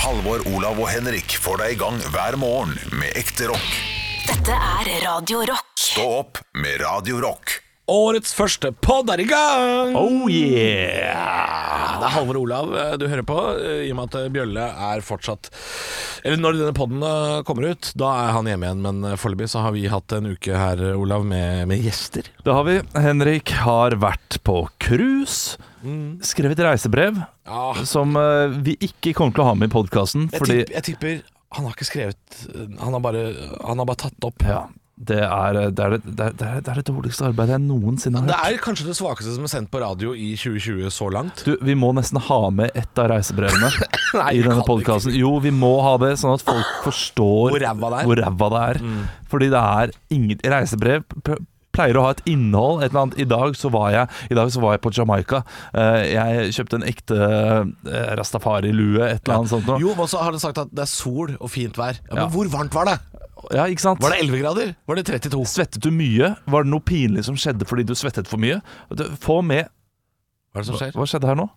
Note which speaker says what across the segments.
Speaker 1: Halvor, Olav og Henrik får deg i gang hver morgen med ekte rock.
Speaker 2: Dette er Radio Rock.
Speaker 1: Stå opp med Radio Rock.
Speaker 3: Årets første podd er i gang!
Speaker 4: Oh yeah!
Speaker 3: Det er Halvor Olav eh, du hører på, eh, i og med at eh, Bjølle er fortsatt Eller når denne podden eh, kommer ut, da er han hjemme igjen, men eh, foreløpig så har vi hatt en uke her, eh, Olav, med, med gjester.
Speaker 4: Det har vi. Henrik har vært på cruise. Skrevet reisebrev
Speaker 3: Mm. Ja.
Speaker 4: som eh, vi ikke kommer til å ha med i podkasten.
Speaker 3: Jeg,
Speaker 4: Fordi
Speaker 3: tipp, jeg tipper han har ikke skrevet eh, Han har bare, han har bare tatt opp.
Speaker 4: ja, det, er, eh, det, er, det, er, det er- det er det dårligste arbeidet jeg noensinne
Speaker 3: Det
Speaker 4: har hørt.
Speaker 3: er kanskje det svakeste som er sendt på radio i 2020 så langt.
Speaker 4: Du, vi må nesten ha med ett av reisebrevene
Speaker 3: Nei,
Speaker 4: i
Speaker 3: jeg
Speaker 4: denne
Speaker 3: kan
Speaker 4: podkasten. Jo, vi må ha det, sånn at folk forstår
Speaker 3: Ah, Hvor ræva det er. Mm.
Speaker 4: hvor ræva det er. Fordi det er inget Reisebrev p- pleier å ha et innhold. Et eller annet. I dag så var jeg, i dag så var jeg på Jamaica. Eh, Jeg kjøpte en ekte eh, rastafari-lue, et eller annet sånt noe.
Speaker 3: Jo, men så har han sagt at det er sol og fint vær. Ja, men
Speaker 4: Ja.
Speaker 3: hvor varmt var det?
Speaker 4: Ja, ikke sant?
Speaker 3: Var det 11 grader? Var det 32?
Speaker 4: Svettet du mye? Var det noe pinlig som skjedde fordi du svettet for mye? Du- Få med
Speaker 3: Hva er det som skjer?
Speaker 4: Hva skjedde her nå?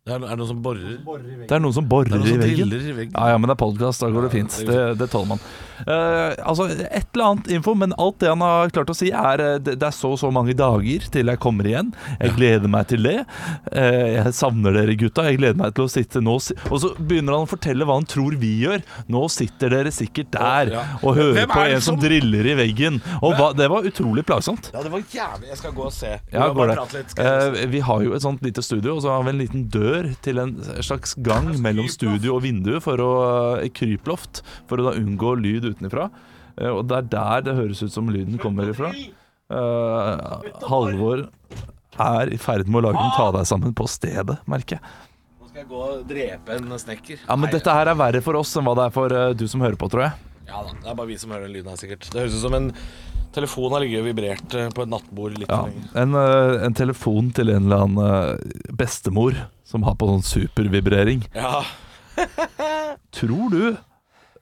Speaker 3: Det er, er det noen som borer?
Speaker 4: Det er noen som borer
Speaker 3: Det er noen
Speaker 4: i
Speaker 3: som
Speaker 4: veggen.
Speaker 3: driller i veggen.
Speaker 4: Ja, ja, men det er podkast, da går det fint.
Speaker 3: det går
Speaker 4: Det, det tåler man. Eh, altså, et eller annet info, men alt det han har klart å si, er eh, det, det er så og så mange dager til jeg kommer igjen. Jeg gleder meg til det. Eh, jeg savner dere, gutta. Jeg gleder meg til å sitte nå si- Og så begynner han å fortelle hva han tror vi gjør. Nå sitter dere sikkert der
Speaker 3: Ja.
Speaker 4: og hører
Speaker 3: Hvem er
Speaker 4: på
Speaker 3: det
Speaker 4: en som
Speaker 3: som-
Speaker 4: driller i veggen. Og hva, det var utrolig plagsomt.
Speaker 3: Ja, det var jævlig. Jeg skal gå og se.
Speaker 4: Ja,
Speaker 3: Bare
Speaker 4: går
Speaker 3: prate
Speaker 4: det.
Speaker 3: litt, skal jeg
Speaker 4: Eh, vi har jo et sånt lite studio, og så har vi en liten dør til en slags gang mellom studio og vindu, for å, eh, et kryploft, for å da unngå lyd utenfra. Eh, og det er der det høres ut som lyden kommer ifra. Eh, Halvor er i ferd med å lage
Speaker 3: Ah!
Speaker 4: en ta deg sammen på stedet, merker jeg.
Speaker 3: Nå skal jeg gå og drepe en snekker.
Speaker 4: Ja, men
Speaker 3: Nei,
Speaker 4: dette her er verre for oss enn hva det er for eh, du som hører på, tror jeg.
Speaker 3: Ja da, det er bare vi som hører den lyden her, sikkert. Det høres ut som en telefon har ligget og vibrert eh, på et nattbord litt
Speaker 4: Ja,
Speaker 3: for lenge.
Speaker 4: en, eh, en telefon til en eller annen eh, bestemor som har på sånn supervibrering.
Speaker 3: Ja.
Speaker 4: Tror du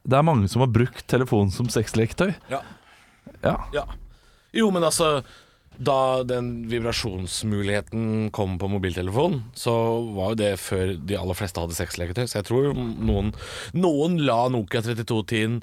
Speaker 4: det er mange som har brukt telefonen som sexleketøy?
Speaker 3: ja.
Speaker 4: Ja.
Speaker 3: Ja. Jo, men altså da den vibrasjonsmuligheten kom på mobiltelefon, så var jo det før de aller fleste hadde sexleketøy. Så jeg tror noen, noen la Nokia 3210-en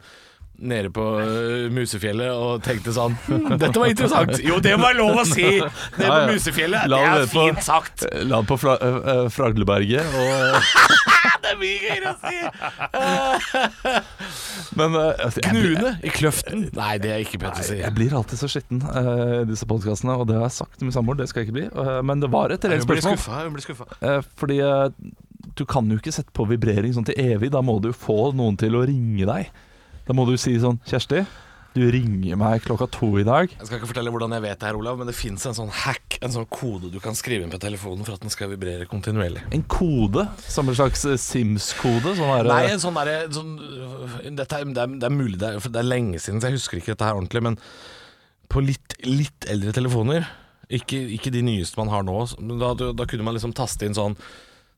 Speaker 3: nede på øh, Musefjellet og tenkte sånn hm, Dette var interessant! Jo, det var lov å si! Nede
Speaker 4: Ja,
Speaker 3: på
Speaker 4: ja.
Speaker 3: Musefjellet.
Speaker 4: La
Speaker 3: Det
Speaker 4: det
Speaker 3: er
Speaker 4: være på-
Speaker 3: fint sagt.
Speaker 4: La den på fra, eh, eh, Fragleberget. Og,
Speaker 3: Det er mye gøyere å si!
Speaker 4: men eh, altså, jeg, blir-
Speaker 3: Knune i kløften. Eh, Nei, det er ikke pent å si.
Speaker 4: jeg blir alltid så skitten eh, i disse podkastene, og det har jeg sagt til min samboer, det skal jeg ikke bli. Eh, men det var et reelt
Speaker 3: Hun blir
Speaker 4: spørsmål.
Speaker 3: skuffa. Hun blir skuffa.
Speaker 4: Eh, fordi eh, du kan jo ikke sette på vibrering sånn til evig. Da må du få noen til å ringe deg. Da må du si sånn Kjersti, du ringer meg klokka to i dag.
Speaker 3: Jeg skal ikke fortelle hvordan jeg vet det her, Olav, men det fins en sånn hack, en sånn kode du kan skrive inn på telefonen for at den skal vibrere kontinuerlig.
Speaker 4: En kode. Som en slags eh, Sims-kode. Sånn der, eh,
Speaker 3: Nei, en sånn derre sånn, øh, dette er, det, er, det er mulig, det er, for det er lenge siden, så jeg husker ikke dette her ordentlig, men på litt, litt eldre telefoner, ikke, ikke de nyeste man har nå, men da, da kunne man liksom taste inn sånn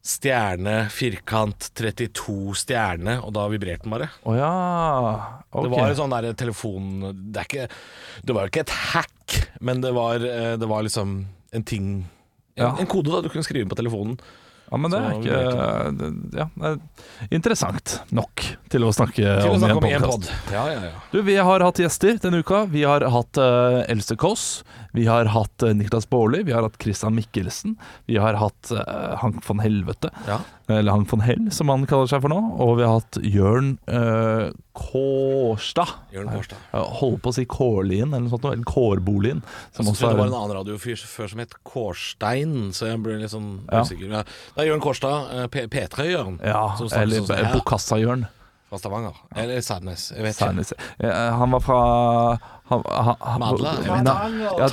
Speaker 3: stjerne, firkant, 32 stjerne, og da vibrerte den bare.
Speaker 4: Å ja.
Speaker 3: Det
Speaker 4: ok.
Speaker 3: var en sånn der telefon Det, er ikke, det var jo ikke et hack, men det var, eh, det var liksom en ting en,
Speaker 4: Ja.
Speaker 3: en kode da du kunne skrive inn på telefonen.
Speaker 4: Ja, men det er
Speaker 3: Så
Speaker 4: ikke det- ja, det er Interessant nok til å snakke
Speaker 3: Til å
Speaker 4: om i
Speaker 3: snakke
Speaker 4: en
Speaker 3: om i en
Speaker 4: podkast.
Speaker 3: pod. Ja, ja, ja.
Speaker 4: Du, vi har hatt gjester denne uka. Vi har hatt uh, Else Kåss. Vi har hatt eh, Niklas Baarli. Vi har hatt Christian Mikkelsen. Vi har hatt eh, Hank von Helvete.
Speaker 3: Ja.
Speaker 4: Eller Hank von Hell, som han kaller seg for nå. Og vi har hatt Jørn eh, Kårstad.
Speaker 3: Jørn Kårstad.
Speaker 4: Jeg Holder på å si Kårlien eller noe sånt. noe, Eller Kårbolien. Som
Speaker 3: Så
Speaker 4: også
Speaker 3: trodde
Speaker 4: er
Speaker 3: det var en annen radiofyr før som het Kårstein, så jeg ble litt sånn
Speaker 4: Ja.
Speaker 3: usikker. Ja. Det er Jørn Kårstad, eh, P- P3-Jørn,
Speaker 4: ja,
Speaker 3: som snakket
Speaker 4: eller
Speaker 3: sånn som- ja,
Speaker 4: Bokassa-Jørn.
Speaker 3: fra Stavanger. Eller Sadness. Jeg vet ikke.
Speaker 4: Særlig. Eh, Han var fra han, han, han,
Speaker 3: Madla?
Speaker 4: Nei, Ja,
Speaker 3: Tananger.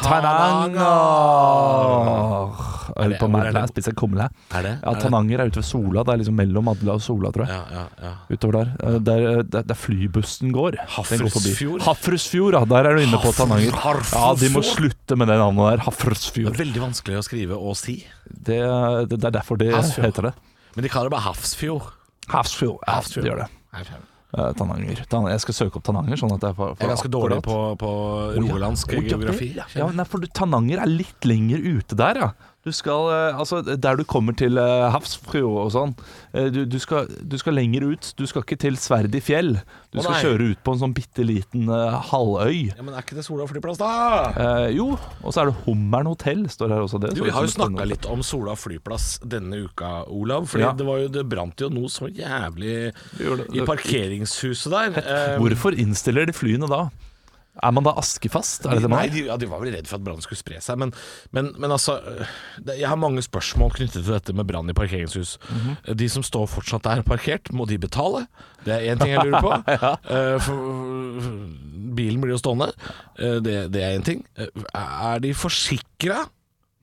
Speaker 4: Tananger.
Speaker 3: Er
Speaker 4: Eller
Speaker 3: det-
Speaker 4: på
Speaker 3: hvor er
Speaker 4: Madla.
Speaker 3: det?
Speaker 4: Spiser kumle.
Speaker 3: Er det?
Speaker 4: Ja,
Speaker 3: Er det?
Speaker 4: Tananger er ute ved Sola. Det er liksom mellom Madla og Sola, tror jeg.
Speaker 3: Ja, ja, ja.
Speaker 4: Utover der. Eh, Der, der, der flybussen går. Den går forbi.
Speaker 3: Hafrsfjord?
Speaker 4: Hafrsfjord, ja. Der er du inne på Tananger.
Speaker 3: Hafrsfjord.
Speaker 4: Ja, de må slutte med det navnet der.
Speaker 3: Det
Speaker 4: Hafrsfjord.
Speaker 3: er veldig vanskelig å skrive og si.
Speaker 4: Det, det, det er derfor det
Speaker 3: Hafrsfjord.
Speaker 4: heter det.
Speaker 3: Men de kaller det bare Hafrsfjord.
Speaker 4: Hafrsfjord. Ja, det gjør det. Eh, Tananger. Tan- Jeg skal søke opp Tananger, sånn at jeg får,
Speaker 3: Jeg
Speaker 4: får
Speaker 3: er ganske dårlig
Speaker 4: akkurat-
Speaker 3: på, på rogalandsk
Speaker 4: Å, ja,
Speaker 3: geografi.
Speaker 4: det- Ja, ja, nei, for du- Tananger er litt lenger ute der, ja. Du skal, eh, altså Der du kommer til eh, Hafrsfjord og sånn eh, du, du, skal, du skal lenger ut. Du skal ikke til Sverdig fjell. Du
Speaker 3: Å,
Speaker 4: skal
Speaker 3: nei.
Speaker 4: kjøre ut på en sånn bitte liten eh, halvøy.
Speaker 3: Ja, Men er ikke det Sola flyplass, da?
Speaker 4: Eh, jo, og så er det Hummeren hotell, står her også. altså, det
Speaker 3: Du,
Speaker 4: Så
Speaker 3: Vi
Speaker 4: det
Speaker 3: har jo
Speaker 4: som et
Speaker 3: snakka litt om Sola flyplass denne uka, Olav. Fordi
Speaker 4: Ja.
Speaker 3: det, var jo, det brant jo noe så jævlig
Speaker 4: gjorde det.
Speaker 3: i parkeringshuset der. Eh,
Speaker 4: Hvorfor innstiller de flyene da? Er man da askefast? Er det det man
Speaker 3: Nei,
Speaker 4: er?
Speaker 3: de, ja, de var vel redd for at brannen skulle spre seg, men, men, men altså øh, det, Jeg har mange spørsmål knyttet til dette med brann i parkeringshus.
Speaker 4: Mhm.
Speaker 3: De som står fortsatt der parkert, må de betale? Det er én ting jeg lurer på. Eh, for, bilen blir jo stående, Eh, det, det er én ting. Eh, er de forsikra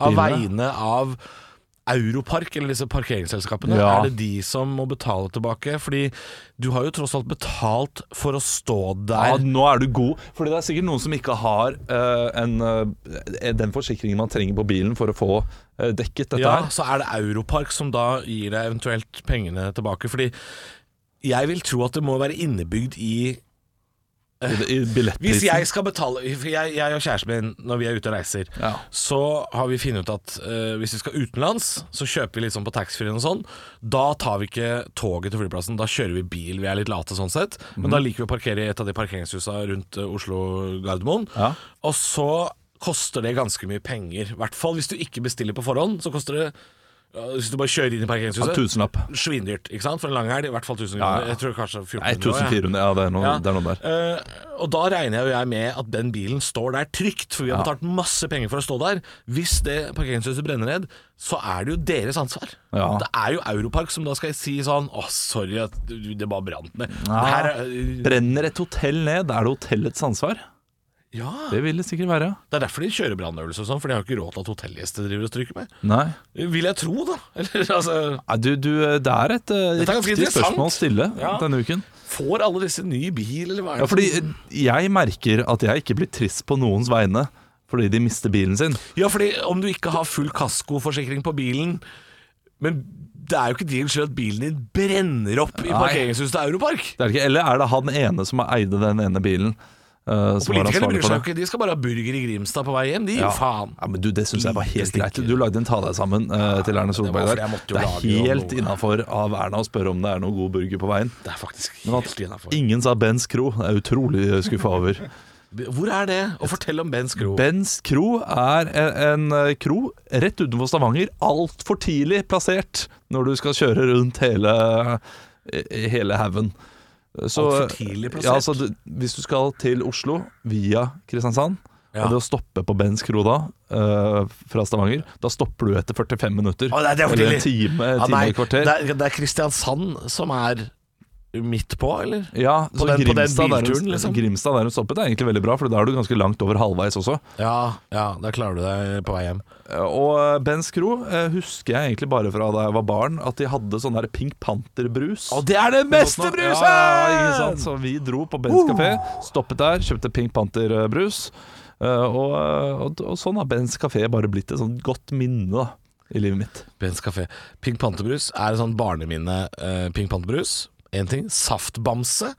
Speaker 3: av
Speaker 4: Bilene?
Speaker 3: vegne av Europark, eller disse parkeringsselskapene,
Speaker 4: Ja.
Speaker 3: er det de som må betale tilbake? Fordi du har jo tross alt betalt for å stå der.
Speaker 4: Ja, nå er du god. Fordi det er sikkert noen som ikke har eh, en, eh, den forsikringen man trenger på bilen for å få eh, dekket dette
Speaker 3: ja,
Speaker 4: her.
Speaker 3: så er det Europark som da gir deg eventuelt pengene tilbake. Fordi jeg vil tro at det må være innebygd i eh,
Speaker 4: I, i
Speaker 3: Hvis
Speaker 4: billettprisen.
Speaker 3: jeg skal betale for jeg, jeg og kjæresten min, når vi er ute og reiser,
Speaker 4: Ja.
Speaker 3: så har vi funnet ut at eh, hvis vi skal utenlands, så kjøper vi litt sånn på taxfree-en og sånn. Da tar vi ikke toget til flyplassen, da kjører vi bil. Vi er litt late sånn sett. Men da
Speaker 4: Mhm.
Speaker 3: liker vi å parkere i et av de parkeringshusa rundt eh, Oslo Gardermoen.
Speaker 4: Ja.
Speaker 3: Og så koster det ganske mye penger. I hvert fall hvis du ikke bestiller på forhånd, så koster det ja, hvis du bare kjører inn i
Speaker 4: Ja,
Speaker 3: parkeringshuset
Speaker 4: tusenlapp.
Speaker 3: Svindyrt, ikke sant? For en lang helg. I hvert fall 1000
Speaker 4: Ja,
Speaker 3: kroner.
Speaker 4: ja.
Speaker 3: Jeg tror kanskje 1400.
Speaker 4: Nei,
Speaker 3: også, jeg.
Speaker 4: 1400. Ja, det er noe,
Speaker 3: Ja.
Speaker 4: det er noe der.
Speaker 3: Eh, og da regner jo jeg med at den bilen står der trygt, for vi har
Speaker 4: Ja.
Speaker 3: betalt masse penger for å stå der. Hvis det parkeringshuset brenner ned, så er det jo deres ansvar.
Speaker 4: Ja.
Speaker 3: Det er jo Europark som da skal si sånn Å, sorry at du- det bare brant ned.
Speaker 4: Ja.
Speaker 3: Det her er,
Speaker 4: Ah.
Speaker 3: eh, øh,
Speaker 4: Brenner et hotell ned, er det hotellets ansvar?
Speaker 3: ja.
Speaker 4: Det vil det sikkert være.
Speaker 3: Det er derfor de kjører brannøvelse og sånn, for de har jo ikke råd til at hotellgjester driver og stryker med.
Speaker 4: Nei.
Speaker 3: Vil jeg tro, da. Eller altså
Speaker 4: Nei, Du, du, det er et eh,
Speaker 3: Dette er ganske
Speaker 4: riktig
Speaker 3: interessant.
Speaker 4: spørsmål å stille
Speaker 3: Ja.
Speaker 4: denne uken.
Speaker 3: Får alle disse ny bil, eller hva er
Speaker 4: Ja,
Speaker 3: det?
Speaker 4: fordi øh,
Speaker 3: som-
Speaker 4: jeg merker at jeg ikke blir trist på noens vegne fordi de mister bilen sin.
Speaker 3: ja, fordi om du ikke har full kaskoforsikring på bilen Men det er jo ikke din skyld at bilen din brenner opp i
Speaker 4: Nei.
Speaker 3: parkeringshuset til Europark.
Speaker 4: Det er det ikke, eller er det han ene som eide den ene bilen? eh, som var
Speaker 3: Politikerne
Speaker 4: ansvarlig
Speaker 3: bryr
Speaker 4: for
Speaker 3: seg jo
Speaker 4: det?
Speaker 3: ikke, de skal bare ha burger i Grimstad på vei hjem, de.
Speaker 4: Ja.
Speaker 3: Faen.
Speaker 4: Ja, men du, Det syns jeg var helt
Speaker 3: Lite
Speaker 4: greit.
Speaker 3: stinker.
Speaker 4: Du lagde en ta deg sammen eh, til Erna Solberg
Speaker 3: fordi
Speaker 4: der.
Speaker 3: jeg måtte jo
Speaker 4: Det er
Speaker 3: lage noe.
Speaker 4: helt innafor av Erna å spørre om det er noe god burger på veien.
Speaker 3: Det er faktisk
Speaker 4: Men at
Speaker 3: helt innafor.
Speaker 4: ingen sa Bens Kro, det er jeg utrolig skuffa over.
Speaker 3: Hvor er det? Og fortell om Bens Kro.
Speaker 4: Bens Kro er en, en eh, kro rett utenfor Stavanger, altfor tidlig plassert når du skal kjøre rundt hele, eh, hele haugen. Så,
Speaker 3: Alt for tidlig plassert?
Speaker 4: Ja, altså, du, hvis du skal til Oslo via Kristiansand,
Speaker 3: Ja.
Speaker 4: og det å stoppe på Bens Kro da, eh, fra Stavanger, da stopper du etter 45 minutter.
Speaker 3: Å, nei, det er for
Speaker 4: eller en
Speaker 3: tidlig.
Speaker 4: time,
Speaker 3: Ja,
Speaker 4: time
Speaker 3: nei,
Speaker 4: og et
Speaker 3: det
Speaker 4: kvarter.
Speaker 3: er, det er Kristiansand som er midt på, eller?
Speaker 4: Ja, så
Speaker 3: den- på den
Speaker 4: Grimstad, der
Speaker 3: bilturen,
Speaker 4: hun,
Speaker 3: liksom.
Speaker 4: Grimstad der hun stoppet er egentlig veldig bra, for da er du ganske langt over halvveis også.
Speaker 3: Ja, ja, da klarer du deg på vei hjem.
Speaker 4: Og Bens Kro eh, husker jeg egentlig bare fra da jeg var barn, at de hadde sånn der Pink Panther-brus.
Speaker 3: det Uh. er den
Speaker 4: Ja, ja, ja, ikke sant? Så vi dro på Bens kafé, stoppet der, kjøpte Pink Panther-brus. eh, Og, og, og sånn har Bens kafé bare blitt et sånn godt minne da, i livet mitt.
Speaker 3: Bens kafé. Pink Panterbrus er en sånn barneminne. eh, Pink Panterbrus, én ting. Saftbamse.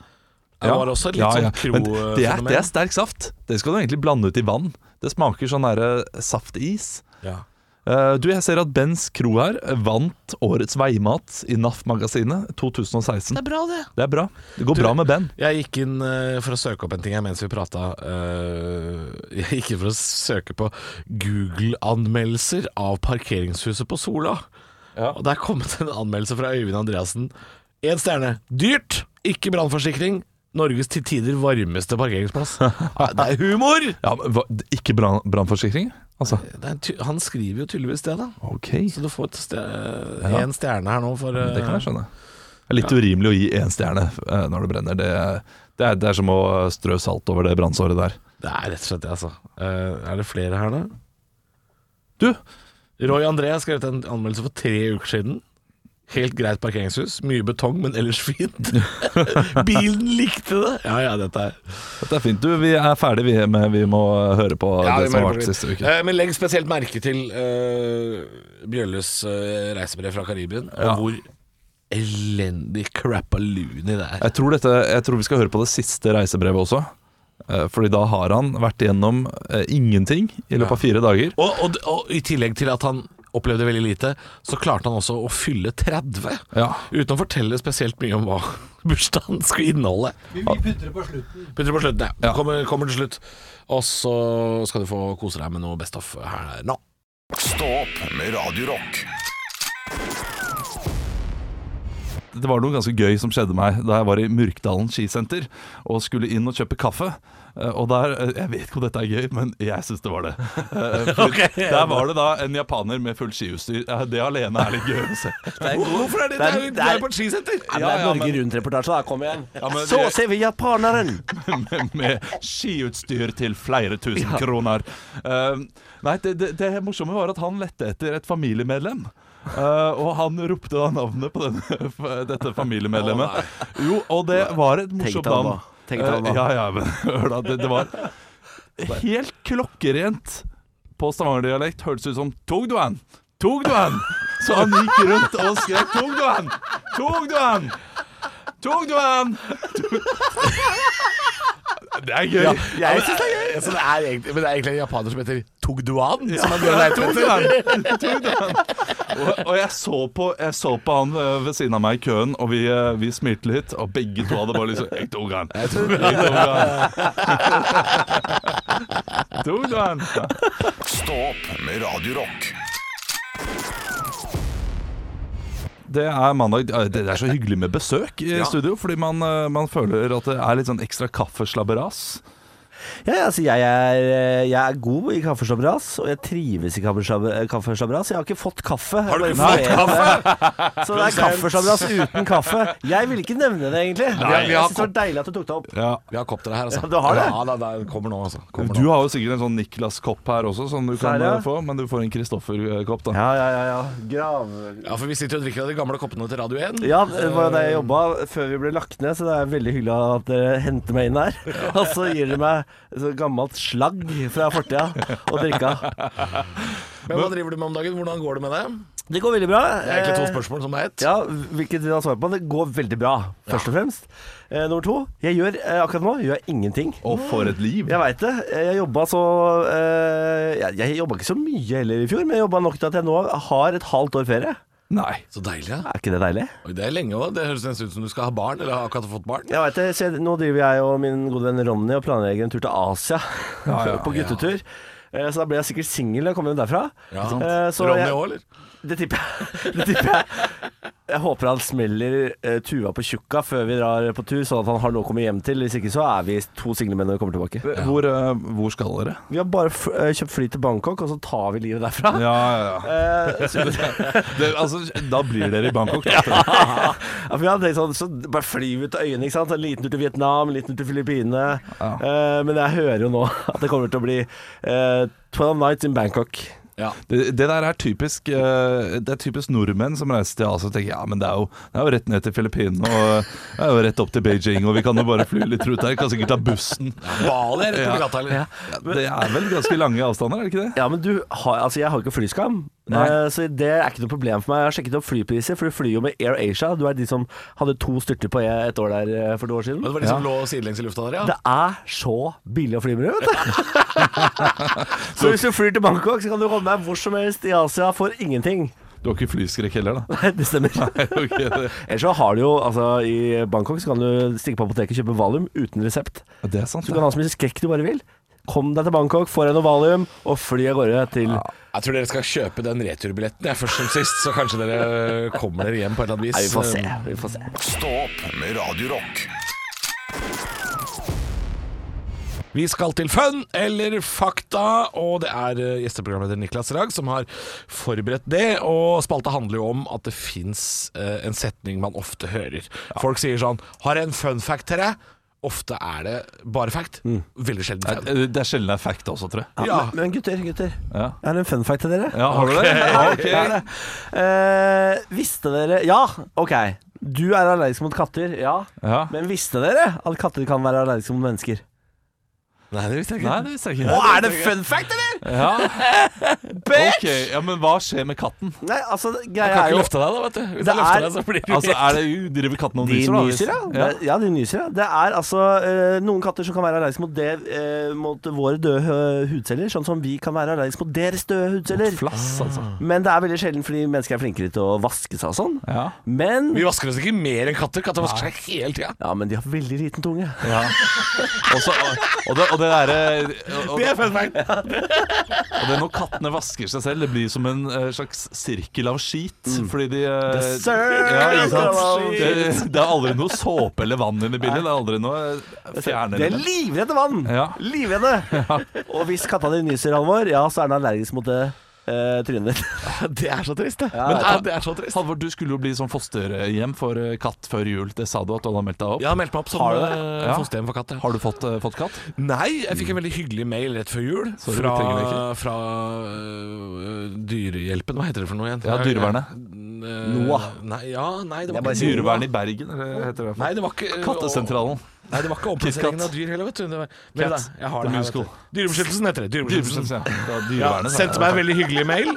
Speaker 3: Det var også et litt
Speaker 4: Ja, ja.
Speaker 3: sånn kro
Speaker 4: Men det er, det er sterk saft. Det skal du egentlig blande ut i vann. Det smaker sånn der, eh, saftis.
Speaker 3: Ja.
Speaker 4: Eh, Du, jeg ser at Bens Kro her vant Årets veimat i NAF-magasinet 2016.
Speaker 3: Det er bra, det.
Speaker 4: Det er bra. Det går
Speaker 3: Du-
Speaker 4: bra med Ben.
Speaker 3: Jeg gikk inn eh, for å søke opp en ting her mens vi prata. eh, jeg gikk inn for å søke på Google-anmeldelser av parkeringshuset på Sola.
Speaker 4: Ja.
Speaker 3: Og der kom det en anmeldelse fra Øyvind Andreassen. Én stjerne. Dyrt! Ikke brannforsikring. Norges til tider varmeste parkeringsplass. Ja, Det er humor! Eh,
Speaker 4: Ja, men hva, ikke brann- brannforsikring? Altså,
Speaker 3: Det er ty han skriver jo tydeligvis det, da.
Speaker 4: ok.
Speaker 3: Så du får et ste-
Speaker 4: Ja.
Speaker 3: en stjerne her nå for eh,
Speaker 4: Det kan jeg skjønne. Det er litt urimelig å gi én stjerne eh, når det brenner. Det, det, er, det er som å strø salt over det brannsåret der.
Speaker 3: Det er rett og slett det, altså. Eh, er det flere her, da?
Speaker 4: Du,
Speaker 3: Roy André har skrevet en anmeldelse for tre uker siden. Helt greit parkeringshus. Mye betong, men ellers fint. Bilen likte det! Ja, ja, dette er
Speaker 4: dette er fint. Du, vi er ferdig vi, med Vi må høre på det som har vært siste uke.
Speaker 3: Eh, Men legg spesielt merke til eh, Bjølles eh, reisebrev fra Karibien,
Speaker 4: Ja.
Speaker 3: og hvor elendig crapaloony det er.
Speaker 4: Jeg tror, dette, jeg tror vi skal høre på det siste reisebrevet også. Eh, Fordi da har han vært igjennom eh, ingenting i løpet av fire dager.
Speaker 3: Og, og, og i tillegg til at han opplevde veldig lite, så klarte han også å fylle 30.
Speaker 4: Ja.
Speaker 3: Uten å fortelle spesielt mye om hva bursdagen skulle inneholde.
Speaker 5: Vi, vi putter det på slutten.
Speaker 3: Putter på slutten, ja.
Speaker 4: Ja.
Speaker 3: Kommer, kommer til slutt. Og så skal du få kose deg med noe best of her nå.
Speaker 1: Stå opp med Radio Rock.
Speaker 4: Det var noe ganske gøy som skjedde meg da jeg var i Myrkdalen skisenter og skulle inn og kjøpe kaffe. Eh, Og der, eh, Jeg vet ikke om dette er gøy, men jeg syns det var det. Eh, for
Speaker 3: Ok.
Speaker 4: Der var det da en japaner med fullt skiutstyr. Eh, Det alene er litt gøy å se.
Speaker 3: Hvorfor er det?
Speaker 6: Det er- det er-
Speaker 3: et skisenter!
Speaker 6: Ja,
Speaker 4: Ja,
Speaker 6: det
Speaker 4: ja,
Speaker 6: er Norge Rundt-reportasje, da. Kom igjen.
Speaker 4: men
Speaker 6: Så
Speaker 4: vi-
Speaker 6: ser vi japaneren!
Speaker 4: med, med skiutstyr til flere tusen kroner. Eh, nei, det, det, det morsomme var at han lette etter et familiemedlem. Eh, og han ropte da navnet på denne, dette familiemedlemmet. jo, og det var et morsomt
Speaker 6: Tenkte han da.
Speaker 4: navn.
Speaker 6: Tenkte han da.
Speaker 4: Eh, ja, ja, men hør da. Det, det var helt klokkerent på stavangerdialekt. Hørtes ut som 'Tog du han? Tog du han?' Så han gikk rundt og skrev 'Tog du han? Tog du han? Tog du han?' Det er gøy.
Speaker 3: Jeg syns det er gøy! Så det er egentlig, men det er egentlig en japaner som heter Togduan? Som han går og
Speaker 4: Ja,
Speaker 3: leter
Speaker 4: tok
Speaker 3: etter.
Speaker 4: den. Tok den. Og, og jeg, så på, jeg så på han ø, ved siden av meg i køen, og vi, ø, vi smilte litt. Og begge to hadde bare liksom Jeg tok han. Jeg tok han. Tok du han? Ja.
Speaker 1: Stå opp med Radio Rock.
Speaker 4: Det er mandag. Det er så hyggelig med besøk i studio, fordi man, ø, man føler at det er litt sånn ekstra kaffeslabberas.
Speaker 6: Ja, ja, altså jeg er, jeg er god i kaffeslabberas, og jeg trives i kaffeslab- kaffeslabberas. Jeg har ikke fått kaffe. Har du ikke fått kaffe? Så det er kaffeslabberas uten kaffe. Jeg ville ikke nevne det, egentlig.
Speaker 3: Nei, vi
Speaker 6: jeg
Speaker 3: har
Speaker 6: synes det var deilig at du tok det opp.
Speaker 4: Ja.
Speaker 3: Vi har koptere her, altså.
Speaker 6: Ja, du har det?
Speaker 3: Ja, da, da, den kommer nå, altså. Kommer
Speaker 4: Du
Speaker 3: nå.
Speaker 4: har jo sikkert en sånn Niklas-kopp her også, som du kan
Speaker 6: Der, ja.
Speaker 4: ø, få. Men du får en Kristoffer-kopp, da.
Speaker 6: Ja, ja, ja. ja. Grav...
Speaker 3: Ja, for vi sitter jo og drikker av de gamle koppene til Radio 1.
Speaker 6: Ja, det var jo der jeg jobba før vi ble lagt ned, så det er veldig hyggelig at dere henter meg inn her. Og så gir dere meg så gammelt slagg fra fortida å drikke av.
Speaker 3: Eh, Men hva driver du med om dagen? Hvordan går det med deg?
Speaker 6: Det går veldig bra. Eh,
Speaker 3: Det er egentlig to spørsmål som er ett.
Speaker 6: Ja, hvilket vil han svare på? Det går veldig bra, først og fremst. Eh, nummer to, jeg gjør eh, akkurat nå gjør jeg ingenting.
Speaker 4: Og for et liv!
Speaker 6: Jeg veit det. Jeg jobba så eh, Jeg, jeg jobba ikke så mye heller i fjor, men jeg jobba nok til at jeg nå har et halvt år ferie.
Speaker 4: Nei.
Speaker 3: Så deilig, ja.
Speaker 6: Er ikke det deilig?
Speaker 3: Oi, Det er lenge òg. Det høres nesten ut som du skal ha barn, eller har akkurat fått barn.
Speaker 6: Jeg vet det, så jeg, Nå driver jeg og min gode venn Ronny og planlegger en tur til Asia på guttetur. Eh, Så da blir jeg sikkert singel når jeg kommer hjem derfra.
Speaker 3: Ja.
Speaker 6: Eh, så
Speaker 3: Ronny
Speaker 6: jeg-
Speaker 3: òg, eller?
Speaker 6: Det tipper jeg. Det tipper jeg. jeg håper han smeller eh, Tuva på tjukka før vi drar på tur, sånn at han har noe å komme hjem til. Hvis ikke så er vi to single menn når vi kommer tilbake.
Speaker 4: Hvor, ø, hvor skal dere?
Speaker 6: Vi har bare f eh, kjøpt fly til Bangkok, og så tar vi livet derfra.
Speaker 4: Ja, ja, ja.
Speaker 6: Eh, så,
Speaker 4: det, altså, da blir dere i Bangkok. Da.
Speaker 6: ja, for vi hadde tenkt sånn, så bare flyr vi ut av øyene, ikke sant? En liten tur til Vietnam, en liten tur til Filippinene. Eh, men jeg hører jo nå at det kommer til å bli eh, 12 nights in Bangkok.
Speaker 3: Ja.
Speaker 4: Det, det der er typisk eh, Det er typisk nordmenn som reiser til Asia og tenker ja, men det er jo, det er jo rett ned til Filippinene og det er jo rett opp til Beijing, og vi kan jo bare fly litt rundt her. Kan sikkert ta bussen.
Speaker 3: Bali er rett oppi gata, eller?
Speaker 4: Det er vel ganske lange avstander, er det ikke det?
Speaker 6: Ja, men du, har, altså jeg har jo ikke flyskam,
Speaker 4: Nei.
Speaker 6: eh, så det er ikke noe problem for meg. Jeg har sjekket opp flypriser, for du flyr jo med Air Asia. Du er de som hadde to styrter på et år der eh, for to år
Speaker 3: Men
Speaker 6: siden.
Speaker 3: det var de som lå sidelengs i lufta der, ja?
Speaker 6: Det er så billig å fly med, vet du. så hvis du flyr til Bangkok, så kan du komme deg hvor som helst i Asia for ingenting.
Speaker 4: Du har ikke flyskrekk heller, da?
Speaker 6: Nei, det stemmer.
Speaker 4: Ok, det,
Speaker 6: Ellers så har du jo, altså i Bangkok så kan du stikke på apoteket og kjøpe valium uten resept.
Speaker 4: ja, det er sant.
Speaker 6: Du kan
Speaker 4: det.
Speaker 6: ha så mye skrekk du bare vil. Kom deg til Bangkok, få deg noe valium, og fly av gårde til
Speaker 3: Jeg tror dere skal kjøpe den returbilletten jeg først som sist, så kanskje dere kommer dere hjem på et eller annet vis.
Speaker 6: Nei, vi får se. Vi får se.
Speaker 1: Stå opp med Radio Rock.
Speaker 3: Vi skal til fun eller fakta, og det er eh, gjesteprogramleder Niklas Ragg som har forberedt det. Og spalta handler jo om at det fins eh, en setning man ofte hører. Folk sier sånn 'Har jeg en fun fact til deg?' Ofte er det bare fact.
Speaker 6: Mm.
Speaker 3: Veldig sjelden
Speaker 4: Nei,
Speaker 3: fact.
Speaker 4: det- det er sjelden det er fact også, tror jeg.
Speaker 3: Ja.
Speaker 6: Men, men gutter, gutter.
Speaker 4: Ja.
Speaker 6: Jeg har en fun fact til dere.
Speaker 4: Ja, har du det? Ja, ok.
Speaker 6: Jeg har det. Eh, visste dere Ja, OK. Du er allergisk mot katter, ja.
Speaker 4: Ja.
Speaker 6: Men visste dere at katter kan være allergiske mot mennesker?
Speaker 3: Nei, det visste jeg
Speaker 4: Nei, det visste jeg
Speaker 6: Og
Speaker 4: ikke.
Speaker 6: er det fun fact, eller?
Speaker 4: Ja. Ok, ja, Men hva skjer med katten?
Speaker 6: Nei, altså,
Speaker 3: Jeg
Speaker 6: greia
Speaker 3: kan
Speaker 6: er
Speaker 3: ikke
Speaker 6: jo
Speaker 3: løfte deg, da, vet du. Hvis
Speaker 6: Det
Speaker 3: jeg løfter
Speaker 6: er-
Speaker 3: deg, så blir du
Speaker 4: Altså, er det, Driver katten og
Speaker 6: De
Speaker 4: nyser? da, altså. hvis-
Speaker 6: nyser, ja. Det er- ja, de nyser, ja. Det er altså eh, noen katter som kan være allergiske mot, det, eh, mot våre døde eh, hudceller, sånn som vi kan være allergiske mot deres døde hudceller. Ah.
Speaker 4: Flass, altså.
Speaker 6: Men det er veldig sjelden fordi mennesker er flinkere til å vaske seg og sånn.
Speaker 4: Ja.
Speaker 6: Men
Speaker 3: Vi vasker oss ikke mer enn katter. Katter vasker seg hele tida.
Speaker 6: Ja, men de har veldig liten tunge.
Speaker 4: ja. Og, så, og det, eh, og det derre og, og det når kattene vasker seg selv, det blir som en eh, slags sirkel av skit.
Speaker 3: Mm.
Speaker 4: Fordi de eh,
Speaker 6: The circle
Speaker 4: ja, ikke sant?
Speaker 6: of
Speaker 4: det, det er aldri noe såpe eller vann inne i bildet. Det er aldri noe eh,
Speaker 6: De er
Speaker 4: fjernelement.
Speaker 6: livredde vann!
Speaker 4: Ja.
Speaker 6: Livredde! Og hvis katta di nyser, Halvor, ja, så er den allergisk mot det eh, trynet ditt.
Speaker 3: Det er så trist, det.
Speaker 6: Men
Speaker 3: Men, ja, det er så trist.
Speaker 4: Halvor, du skulle jo bli sånn fosterhjem for eh, katt før jul. Det sa du at du hadde meldt deg opp.
Speaker 3: Jeg har meldt meg opp som
Speaker 4: Har du det?
Speaker 3: eh,
Speaker 4: Ja.
Speaker 3: fosterhjem for katter.
Speaker 4: Har du fått, eh, fått katt?
Speaker 3: Nei, jeg fikk en veldig hyggelig mail rett før jul
Speaker 4: Sorry,
Speaker 3: fra,
Speaker 4: vi trenger det
Speaker 3: fra øh, Dyrehjelpen. Hva heter det for noe igjen?
Speaker 4: Mm. Ja, Dyrevernet.
Speaker 3: Eh,
Speaker 6: NOAH.
Speaker 3: Nei, ja, nei, det var
Speaker 6: Jeg bare
Speaker 3: ikke
Speaker 6: sier
Speaker 4: Dyrevern i Bergen, eller heter det?
Speaker 3: Nei, det var ikke
Speaker 4: Kattesentralen.
Speaker 3: Nei, det var ikke omplasseringen
Speaker 4: Kitkat.
Speaker 3: av dyr heller, vet du. Det var, Vent da, jeg har
Speaker 4: The
Speaker 3: det her, vet
Speaker 4: Musical.
Speaker 3: du. Dyrebeskyttelsen heter det. Dyrebeskyttelsen.
Speaker 4: Dyrevernet. Ja,
Speaker 3: Ja,
Speaker 4: dyrevernet, sa jeg.
Speaker 3: sendte meg en veldig hyggelig mail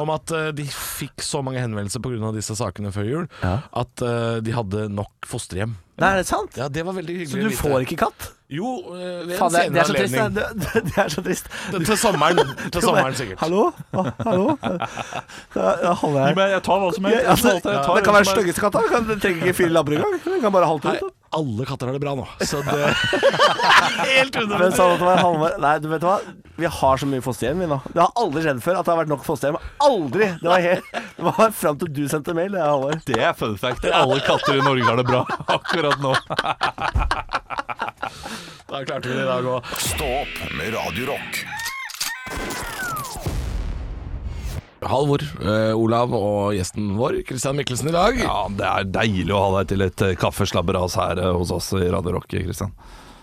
Speaker 3: om at eh, de fikk så mange henvendelser pga. disse sakene før jul at eh, de hadde nok fosterhjem.
Speaker 6: Nei, er det sant?
Speaker 3: Ja, det var veldig hyggelig.
Speaker 6: Så du får ikke katt?
Speaker 3: Jo, eh, ved en
Speaker 6: Faen, det, er- det
Speaker 3: senere
Speaker 6: er så trist.
Speaker 3: anledning.
Speaker 6: Det, det, det er så trist.
Speaker 3: Til sommeren, til sommeren sikkert.
Speaker 6: Hallo? Å, hallo? Da da holder
Speaker 4: Gi
Speaker 6: jeg
Speaker 4: meg- Jeg tar hva som helst.
Speaker 6: Ja,
Speaker 4: Jeg
Speaker 6: altså,
Speaker 4: tar alt jeg tar.
Speaker 6: det kan være styggeste katta. Den kan- Den trenger ikke fire labber engang. Den kan bare halte
Speaker 3: Nei,
Speaker 6: rundt.
Speaker 3: alle katter har det bra nå. Så det Helt
Speaker 6: Hvem
Speaker 3: unødvendig.
Speaker 6: sa sånn at det var halvveis? Nei, du vet hva? Vi har så mye fosterhjem vi nå. Det har aldri skjedd før at det har vært nok fosterhjem. Aldri! Det var, helt, det var fram til du sendte mail, det, Halvor.
Speaker 4: Det er fun fact. Alle katter i Norge har det bra akkurat nå.
Speaker 3: Da klarte vi det i dag òg.
Speaker 1: Stå opp med Radio Rock.
Speaker 3: Halvor, eh, Olav og gjesten vår, Christian Mikkelsen, i dag.
Speaker 4: Ja, Det er deilig å ha deg til et eh, kaffeslabberas her eh, hos oss i Radio Rock, Kristian.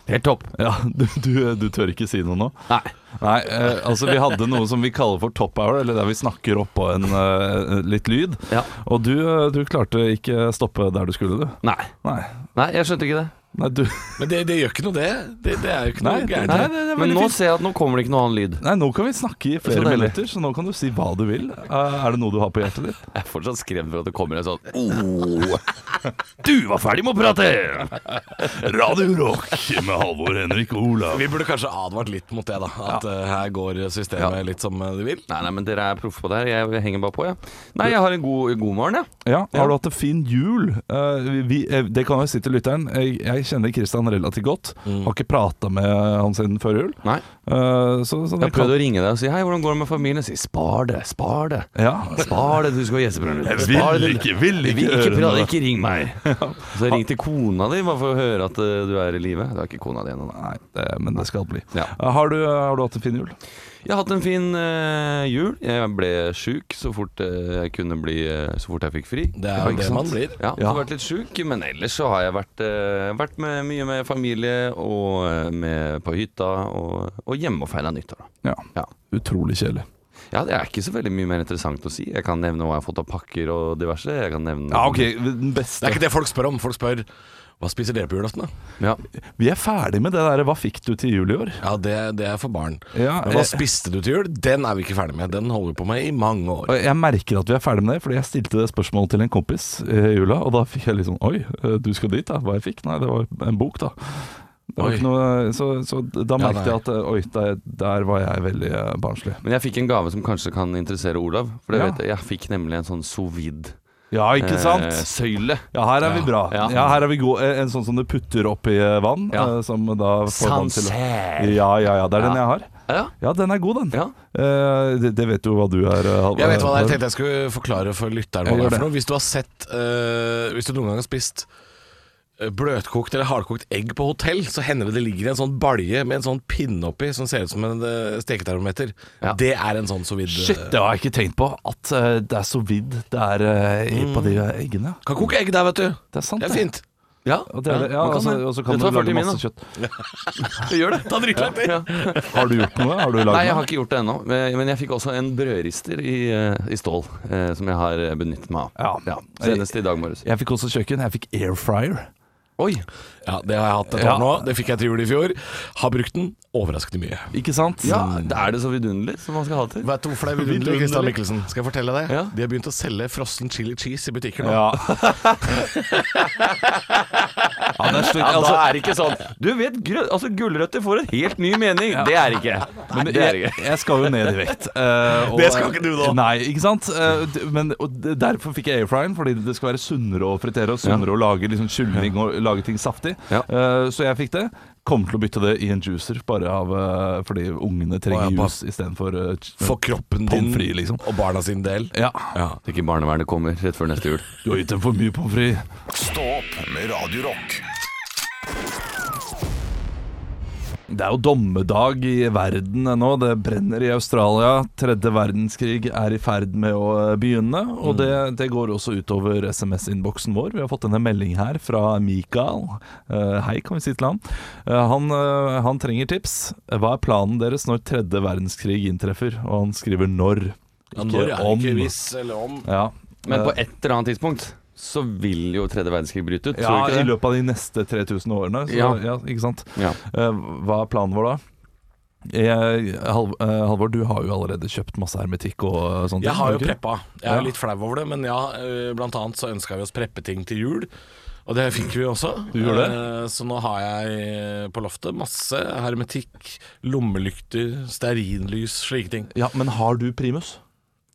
Speaker 3: Helt topp.
Speaker 4: Ja, du, du, du tør ikke si noe nå?
Speaker 3: Nei.
Speaker 4: Nei, eh, altså vi hadde noe som vi kaller for top hour, eller der vi snakker oppå en eh, litt lyd.
Speaker 5: Ja.
Speaker 4: Og du, eh, du klarte ikke stoppe der du skulle, du.
Speaker 5: Nei.
Speaker 4: Nei.
Speaker 5: Nei, jeg skjønte ikke det.
Speaker 4: Nei, du.
Speaker 3: Men det, det gjør ikke noe, det. Det, det er jo ikke noe
Speaker 4: Nei,
Speaker 3: gærent.
Speaker 4: nei.
Speaker 3: her.
Speaker 4: det er veldig
Speaker 5: Men nå
Speaker 4: fint.
Speaker 5: ser jeg at nå kommer det ikke noe annen lyd.
Speaker 4: Nei, nå kan vi snakke i flere
Speaker 5: Så deilig.
Speaker 4: minutter, så nå kan du si hva du vil. Eh, er det noe du har på hjertet ditt?
Speaker 5: Jeg er fortsatt skremt for at det kommer en sånn «Åh, Du var ferdig med å prate!
Speaker 4: Radio Rock med Halvor Henrik og Olav.
Speaker 3: Vi burde kanskje advart litt mot det, da. At eh, her går systemet
Speaker 5: Ja.
Speaker 3: litt som eh, det vil.
Speaker 5: Nei, nei, men dere er proffe på det her. Jeg henger bare på, jeg. Nei, jeg har en god, god morgen, jeg.
Speaker 4: Ja, har du hatt en fin jul? Eh, vi, vi- eh, det kan jeg si til lytteren. Jeg, jeg kjenner Kristian relativt godt. Har ikke prata med han siden før jul.
Speaker 5: Mm. Nei.
Speaker 4: Eh, så, så det
Speaker 5: Jeg prøvde
Speaker 4: kan-
Speaker 5: å ringe deg og si hei, hvordan går det med familien? Si spar det, spar det.
Speaker 4: Ja.
Speaker 5: Spar det, du skal ha gjesteprogrammet.
Speaker 4: vil
Speaker 5: Spar det.
Speaker 4: ikke- vil ikke
Speaker 5: vil
Speaker 4: høre
Speaker 5: ikke
Speaker 4: noe.
Speaker 5: prate, ikke ring meg. Så ring til kona di bare for å høre at eh, du er i live. Det er ikke kona di ennå, da.
Speaker 4: Nei, det, men det skal bli.
Speaker 5: Ja.
Speaker 4: Eh, Har, du, har du hatt en fin jul?
Speaker 5: Jeg har hatt en fin eh, jul. Jeg ble sjuk så fort eh, jeg kunne bli eh, Så fort jeg fikk fri.
Speaker 3: Det er
Speaker 5: Ja,
Speaker 3: jo
Speaker 5: ikke
Speaker 3: det
Speaker 5: sant?
Speaker 3: man blir.
Speaker 5: Ja,
Speaker 4: Ja.
Speaker 5: jeg har vært litt sjuk, men ellers så har jeg vært, eh, vært med, mye med familie og eh, med på hytta og, og hjemme og feira nyttår. da.
Speaker 4: Ja.
Speaker 5: Ja.
Speaker 4: Utrolig kjedelig.
Speaker 5: Ja, det er ikke så veldig mye mer interessant å si. Jeg kan nevne hva jeg har fått av pakker og diverse. Jeg kan nevne
Speaker 4: Ja, ok, den
Speaker 3: Det
Speaker 4: beste
Speaker 3: er ikke det folk spør om. Folk spør hva spiser dere på julaften, da?
Speaker 5: Ja.
Speaker 4: Vi er ferdig med det der 'hva fikk du til jul i år'?
Speaker 3: Ja, det, det er for barn.
Speaker 4: Ja, eh.
Speaker 3: Men hva
Speaker 4: jeg-
Speaker 3: spiste du til jul? Den er vi ikke ferdig med. Den holder vi på med i mange år.
Speaker 4: Og Jeg merker at vi er ferdig med det, fordi jeg stilte det spørsmålet til en kompis eh, i jula, og da fikk jeg litt sånn Oi, eh, du skal dit, da? Hva jeg fikk? Nei, det var en bok, da. Det var
Speaker 3: Oi.
Speaker 4: ikke noe, eh, så, så da
Speaker 3: Ja,
Speaker 4: merket
Speaker 3: nei.
Speaker 4: jeg at eh, oi, der, der var jeg veldig eh, barnslig.
Speaker 5: Men jeg fikk en gave som kanskje kan interessere Olav. For det
Speaker 4: Ja.
Speaker 5: vet jeg, jeg fikk nemlig en sånn sovid eh,
Speaker 4: Ja, ikke sant?
Speaker 5: søyle.
Speaker 4: Ja, her er vi bra. Ja,
Speaker 5: Ja.
Speaker 4: her er vi gode. Eh, En sånn som du putter oppi eh, vann.
Speaker 5: Ja.
Speaker 4: eh, Som da får vann til å
Speaker 5: Sanser.
Speaker 4: Ja, ja, ja. Det er
Speaker 5: Ja.
Speaker 4: den jeg har.
Speaker 5: Ja.
Speaker 4: Ja, den er god, den.
Speaker 5: ja.
Speaker 4: Eh, det, det vet du hva du er, eh, Halvor.
Speaker 3: Jeg vet hva det er. Jeg tenkte jeg skulle forklare for lytteren hva
Speaker 4: Jeg
Speaker 3: det
Speaker 4: gjør
Speaker 3: er
Speaker 4: det.
Speaker 3: for noe. Hvis du har sett eh, Hvis du noen gang har spist eh, bløtkokt eller hardkokt egg på hotell, så hender det det ligger en sånn balje med en sånn pinne oppi som ser ut som en eh, steketermometer.
Speaker 5: Ja.
Speaker 3: Det er en sånn så vidt
Speaker 4: Shit, det har jeg ikke tenkt på. At eh, det er så vidt det er eh, i- på de eggene.
Speaker 3: Mm. Kan koke egg der, vet du.
Speaker 4: Det er sant,
Speaker 3: Det er fint.
Speaker 5: ja.
Speaker 4: Og det er det. Ja,
Speaker 5: man
Speaker 4: og så
Speaker 5: det.
Speaker 4: og så kan
Speaker 5: Det
Speaker 4: du
Speaker 5: tar
Speaker 4: lage
Speaker 5: 40 min,
Speaker 4: masse
Speaker 5: da.
Speaker 4: kjøtt.
Speaker 5: Gjør det. Ta dritlang tid.
Speaker 4: Har du gjort noe? Har du lagd
Speaker 5: Nei, jeg
Speaker 4: noe?
Speaker 5: har ikke gjort det ennå. Men men jeg fikk også en brødrister i, eh, i stål, eh, som jeg har eh, benyttet meg av.
Speaker 4: Ja.
Speaker 5: Senest i dag morges.
Speaker 4: Jeg fikk også kjøkken. Jeg fikk air fryer.
Speaker 5: Oi,
Speaker 3: Ja, det har jeg hatt et år
Speaker 4: Ja.
Speaker 3: nå. Det fikk jeg til jul i fjor. Har brukt den overraskende mye.
Speaker 4: Ikke sant?
Speaker 5: ja, er det så vidunderlig som man skal ha det til?
Speaker 3: Vet du hvorfor det er vidunderlig, Kristian Mikkelsen? Skal jeg fortelle deg?
Speaker 5: Ja.
Speaker 3: De har begynt å selge frossen chili cheese i butikker nå.
Speaker 4: Ja. ja, det er slik,
Speaker 5: Ja,
Speaker 4: altså,
Speaker 5: da er det ikke sånn Du vet, grø- altså gulrøtter får en helt ny mening. Det er det ikke. Men det er det
Speaker 4: jeg,
Speaker 5: ikke.
Speaker 4: jeg skal jo ned i vekt. eh, og-
Speaker 3: Det skal ikke du nå.
Speaker 4: Nei, ikke sant? Eh, d- Men, og d- derfor fikk jeg airfryeren, fordi det skal være sunnere å fritere og sunnere å lage liksom, kylling og lage ting saftig.
Speaker 5: Ja.
Speaker 4: Eh, Så jeg fikk det. Kommer til å bytte det i en juicer, bare av, eh, fordi ungene trenger
Speaker 3: Å, ja, bare-
Speaker 4: juice istedenfor eh, ch-
Speaker 3: For kroppen
Speaker 4: Pommes
Speaker 3: din
Speaker 4: frites, liksom.
Speaker 3: og barna sin del.
Speaker 4: Ja.
Speaker 5: At ikke barnevernet kommer rett før neste jul.
Speaker 4: Du har gitt dem for mye pommes frites.
Speaker 1: Stå opp med Radio Rock.
Speaker 4: Det er jo dommedag i verden ennå. Det brenner i Australia. Tredje verdenskrig er i ferd med å eh, begynne.
Speaker 3: Mm.
Speaker 4: Og det, det går også utover SMS-innboksen vår. Vi har fått en melding her fra Mikael. Eh, hei, kan vi si til han. Eh, han, eh, han trenger tips. Hva er planen deres når tredje verdenskrig inntreffer? Og han skriver når.
Speaker 3: Ja, når er det ikke hvis eller om?
Speaker 4: Ja.
Speaker 5: Men på
Speaker 4: Eh,
Speaker 5: et eller annet tidspunkt så vil jo tredje verdenskrig bryte ut.
Speaker 4: ja,
Speaker 5: tror du
Speaker 4: i
Speaker 5: ikke det?
Speaker 4: løpet av de neste 3000 årene. Så,
Speaker 5: Ja.
Speaker 4: ja, ikke sant?
Speaker 5: Ja.
Speaker 4: Eh, Hva er planen vår da? Jeg, Hal- eh, Halvor, du har jo allerede kjøpt masse hermetikk og eh, sånne ting,
Speaker 3: Jeg har jo
Speaker 4: du ikke?
Speaker 3: preppa. Jeg
Speaker 4: Ja.
Speaker 3: er jo litt flau over det, men ja, eh, blant annet så ønska vi oss preppeting til jul. Og det fikk vi også.
Speaker 4: Du gjorde det?
Speaker 3: Eh, Så nå har jeg eh, på loftet masse hermetikk, lommelykter, stearinlys, slike ting.
Speaker 4: Ja, men har du primus?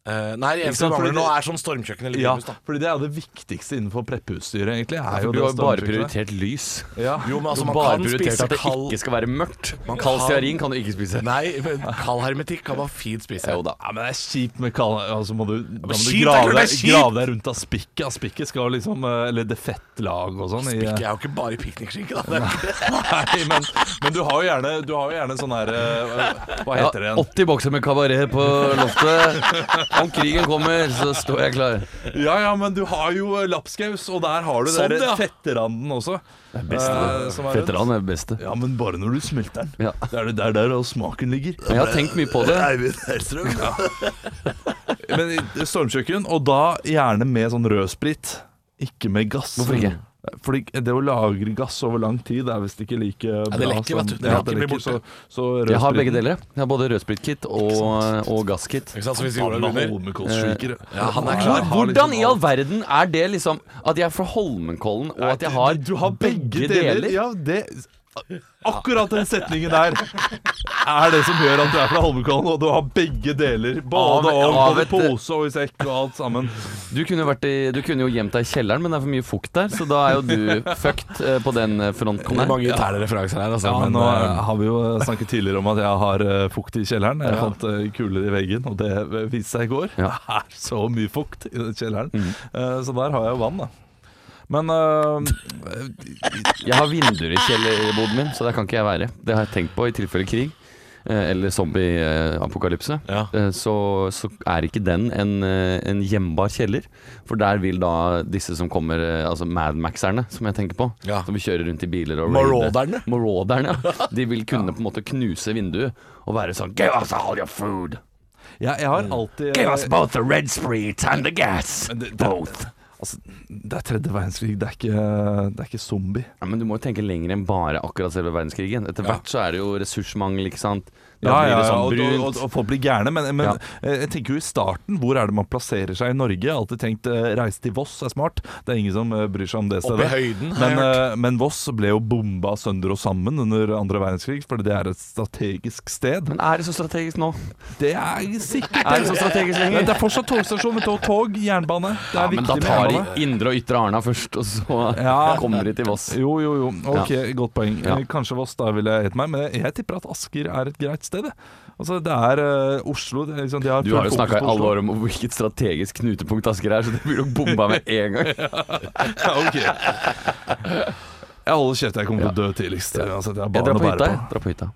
Speaker 3: Eh, Nei, det
Speaker 4: Ikke sant,
Speaker 3: eneste jeg
Speaker 4: fordi
Speaker 3: mangler nå
Speaker 4: det-
Speaker 3: er sånn stormkjøkken eller
Speaker 4: Ja,
Speaker 3: primus, da.
Speaker 4: fordi det er jo det viktigste innenfor preppeutstyret, egentlig. Er jo
Speaker 5: Altså, Du har
Speaker 4: det
Speaker 5: jo bare
Speaker 4: stormkjøkkenet.
Speaker 5: prioritert lys.
Speaker 4: Ja.
Speaker 3: Jo, men altså,
Speaker 5: Du har
Speaker 3: man
Speaker 5: bare
Speaker 3: kan
Speaker 5: prioritert
Speaker 3: spise
Speaker 5: at det
Speaker 3: kald
Speaker 5: ikke skal være mørkt.
Speaker 3: kan-
Speaker 5: Kald stearin kan du ikke spise.
Speaker 3: Nei, men kald hermetikk kan man fint spise.
Speaker 5: Jo da.
Speaker 4: Ja, men det er kjipt med kald altså må du, Da må du
Speaker 3: kjipt, det er
Speaker 4: grave
Speaker 3: klart det er
Speaker 4: deg,
Speaker 3: kjipt!
Speaker 4: grave deg rundt av spikket. av Spikket skal jo liksom eh, Eller det fettlag og sånn. i-
Speaker 3: Spikk er jo ikke bare piknikskinke, da. Det er ikke det.
Speaker 4: Nei, men, men du har jo gjerne Du har jo gjerne sånn her eh, Hva
Speaker 5: Ja,
Speaker 4: heter det igjen?
Speaker 5: 80 bokser med kabaret på loftet. Om krigen kommer, så står jeg klar.
Speaker 4: Ja, ja, men du har jo eh, lapskaus, og der har du
Speaker 3: Sånn,
Speaker 4: den der
Speaker 3: ja.
Speaker 4: fetteranden også. Det er
Speaker 5: beste. Veteran er det beste.
Speaker 4: Ja, men bare når du smelter den.
Speaker 5: Ja.
Speaker 4: Det er det der, der og smaken ligger.
Speaker 5: Jeg har tenkt mye på det.
Speaker 4: Men i stormkjøkken, og da gjerne med sånn rødsprit, ikke med gass.
Speaker 5: Hvorfor ikke?
Speaker 4: Fordi det å lagre gass over lang tid er visst ikke like bra.
Speaker 3: det lekker,
Speaker 4: som-
Speaker 3: vet du. Det
Speaker 4: Ja,
Speaker 3: lekker, blir borte.
Speaker 4: Så, så
Speaker 5: Jeg har begge
Speaker 4: rødspriten-
Speaker 5: deler. jeg. Jeg har Både rødspritkit og, og gasskit. Eh,
Speaker 3: Ikke sant, så hvis jorda
Speaker 4: Faen, med
Speaker 3: begynner
Speaker 4: Holmenkollsskjøker.
Speaker 3: Ja, han er
Speaker 5: Hvor,
Speaker 3: klar.
Speaker 4: liksom
Speaker 5: hvordan i all verden er det liksom At jeg er fra Holmenkollen, og at jeg har,
Speaker 4: Du har begge deler. Ja, det Akkurat den setningen der er det som gjør at du er fra Holmenkollen, og du har begge deler.
Speaker 5: Av-
Speaker 4: Både og,
Speaker 5: av
Speaker 4: både
Speaker 5: et-
Speaker 4: pose og i sekk og alt sammen.
Speaker 5: Du kunne, vært i, du kunne jo gjemt deg i kjelleren, men det er for mye fukt der, så da er jo du fucked eh, på den eh, fronten
Speaker 3: Det er
Speaker 5: her.
Speaker 3: mange interne referanser her, altså.
Speaker 4: Ja,
Speaker 3: men,
Speaker 4: nå
Speaker 3: eh,
Speaker 4: har vi jo snakket tidligere om at jeg har eh, fukt i kjelleren. Jeg fant eh, kuler i veggen, og det eh, viste seg i går.
Speaker 5: Ja. Mm.
Speaker 4: Det er så mye fukt i den kjelleren. Eh, Så der har jeg jo vann, da. Men eh,
Speaker 5: Jeg har vinduer i kjellerboden min, så der kan ikke jeg være. Det har jeg tenkt på i tilfelle krig. eh, Eller zombie-apokalypse. Eh,
Speaker 3: Ja.
Speaker 5: Så, så er ikke den en, eh, en gjembar kjeller. For der vil da disse som kommer, eh, altså Madmaxerne, som jeg tenker på,
Speaker 3: Ja.
Speaker 5: som kjører rundt i biler og
Speaker 3: Marauderne?
Speaker 5: raider- Marauderne, ja. De vil kunne på en måte knuse vinduet og være sånn Give us all your food!
Speaker 4: jeg, jeg har alltid
Speaker 5: Mm.
Speaker 4: eh,
Speaker 5: Give us both the red spreet and the gas!
Speaker 4: Men det- det-
Speaker 5: Both!
Speaker 4: Altså, det er tredje verdenskrig, det er ikke, det er ikke zombie.
Speaker 5: Ja, men du må jo tenke lenger enn bare akkurat selve verdenskrigen. Etter hvert så er det jo ressursmangel, ikke sant. Da blir det sånn
Speaker 4: og, og,
Speaker 5: brunt.
Speaker 4: og, og folk blir gærne. Men, men
Speaker 5: Ja.
Speaker 4: eh, jeg tenker jo i starten, hvor er det man plasserer seg i Norge? Jeg har alltid tenkt eh, reise til Voss er smart. Det er ingen som eh, bryr seg om det
Speaker 3: Opp i
Speaker 4: stedet.
Speaker 3: høyden, har jeg
Speaker 4: men, eh, men Voss ble jo bomba sønder og sammen under andre verdenskrig, fordi det er et strategisk sted.
Speaker 5: Men er det så strategisk nå?
Speaker 4: Det er sikkert
Speaker 5: Er det så strategisk lenger?
Speaker 4: Men det er fortsatt togstasjon med tog, tog, jernbane. Det er
Speaker 5: Ja, men da
Speaker 4: viktig med
Speaker 5: tar de
Speaker 4: jernbane.
Speaker 5: indre og ytre Arna først, og så
Speaker 4: Ja.
Speaker 5: kommer de til Voss.
Speaker 4: Jo, jo, jo. Ok, godt poeng.
Speaker 5: Ja.
Speaker 4: Eh, Kanskje Voss, da ville jeg hett meg. Men jeg tipper at Asker er et greit sted. jeg. Altså, det er eh, Oslo det er liksom, de har
Speaker 5: Du har jo snakka i alle år om hvilket strategisk knutepunkt Asker er, så det blir jo bomba med en gang.
Speaker 4: Jeg holder kjeft, jeg kommer til å dø tidligst. Altså, det er
Speaker 5: Jeg
Speaker 4: barn
Speaker 5: drar
Speaker 4: å
Speaker 5: på hytta,
Speaker 4: bære
Speaker 5: jeg.
Speaker 4: på.
Speaker 5: Drar på hytta.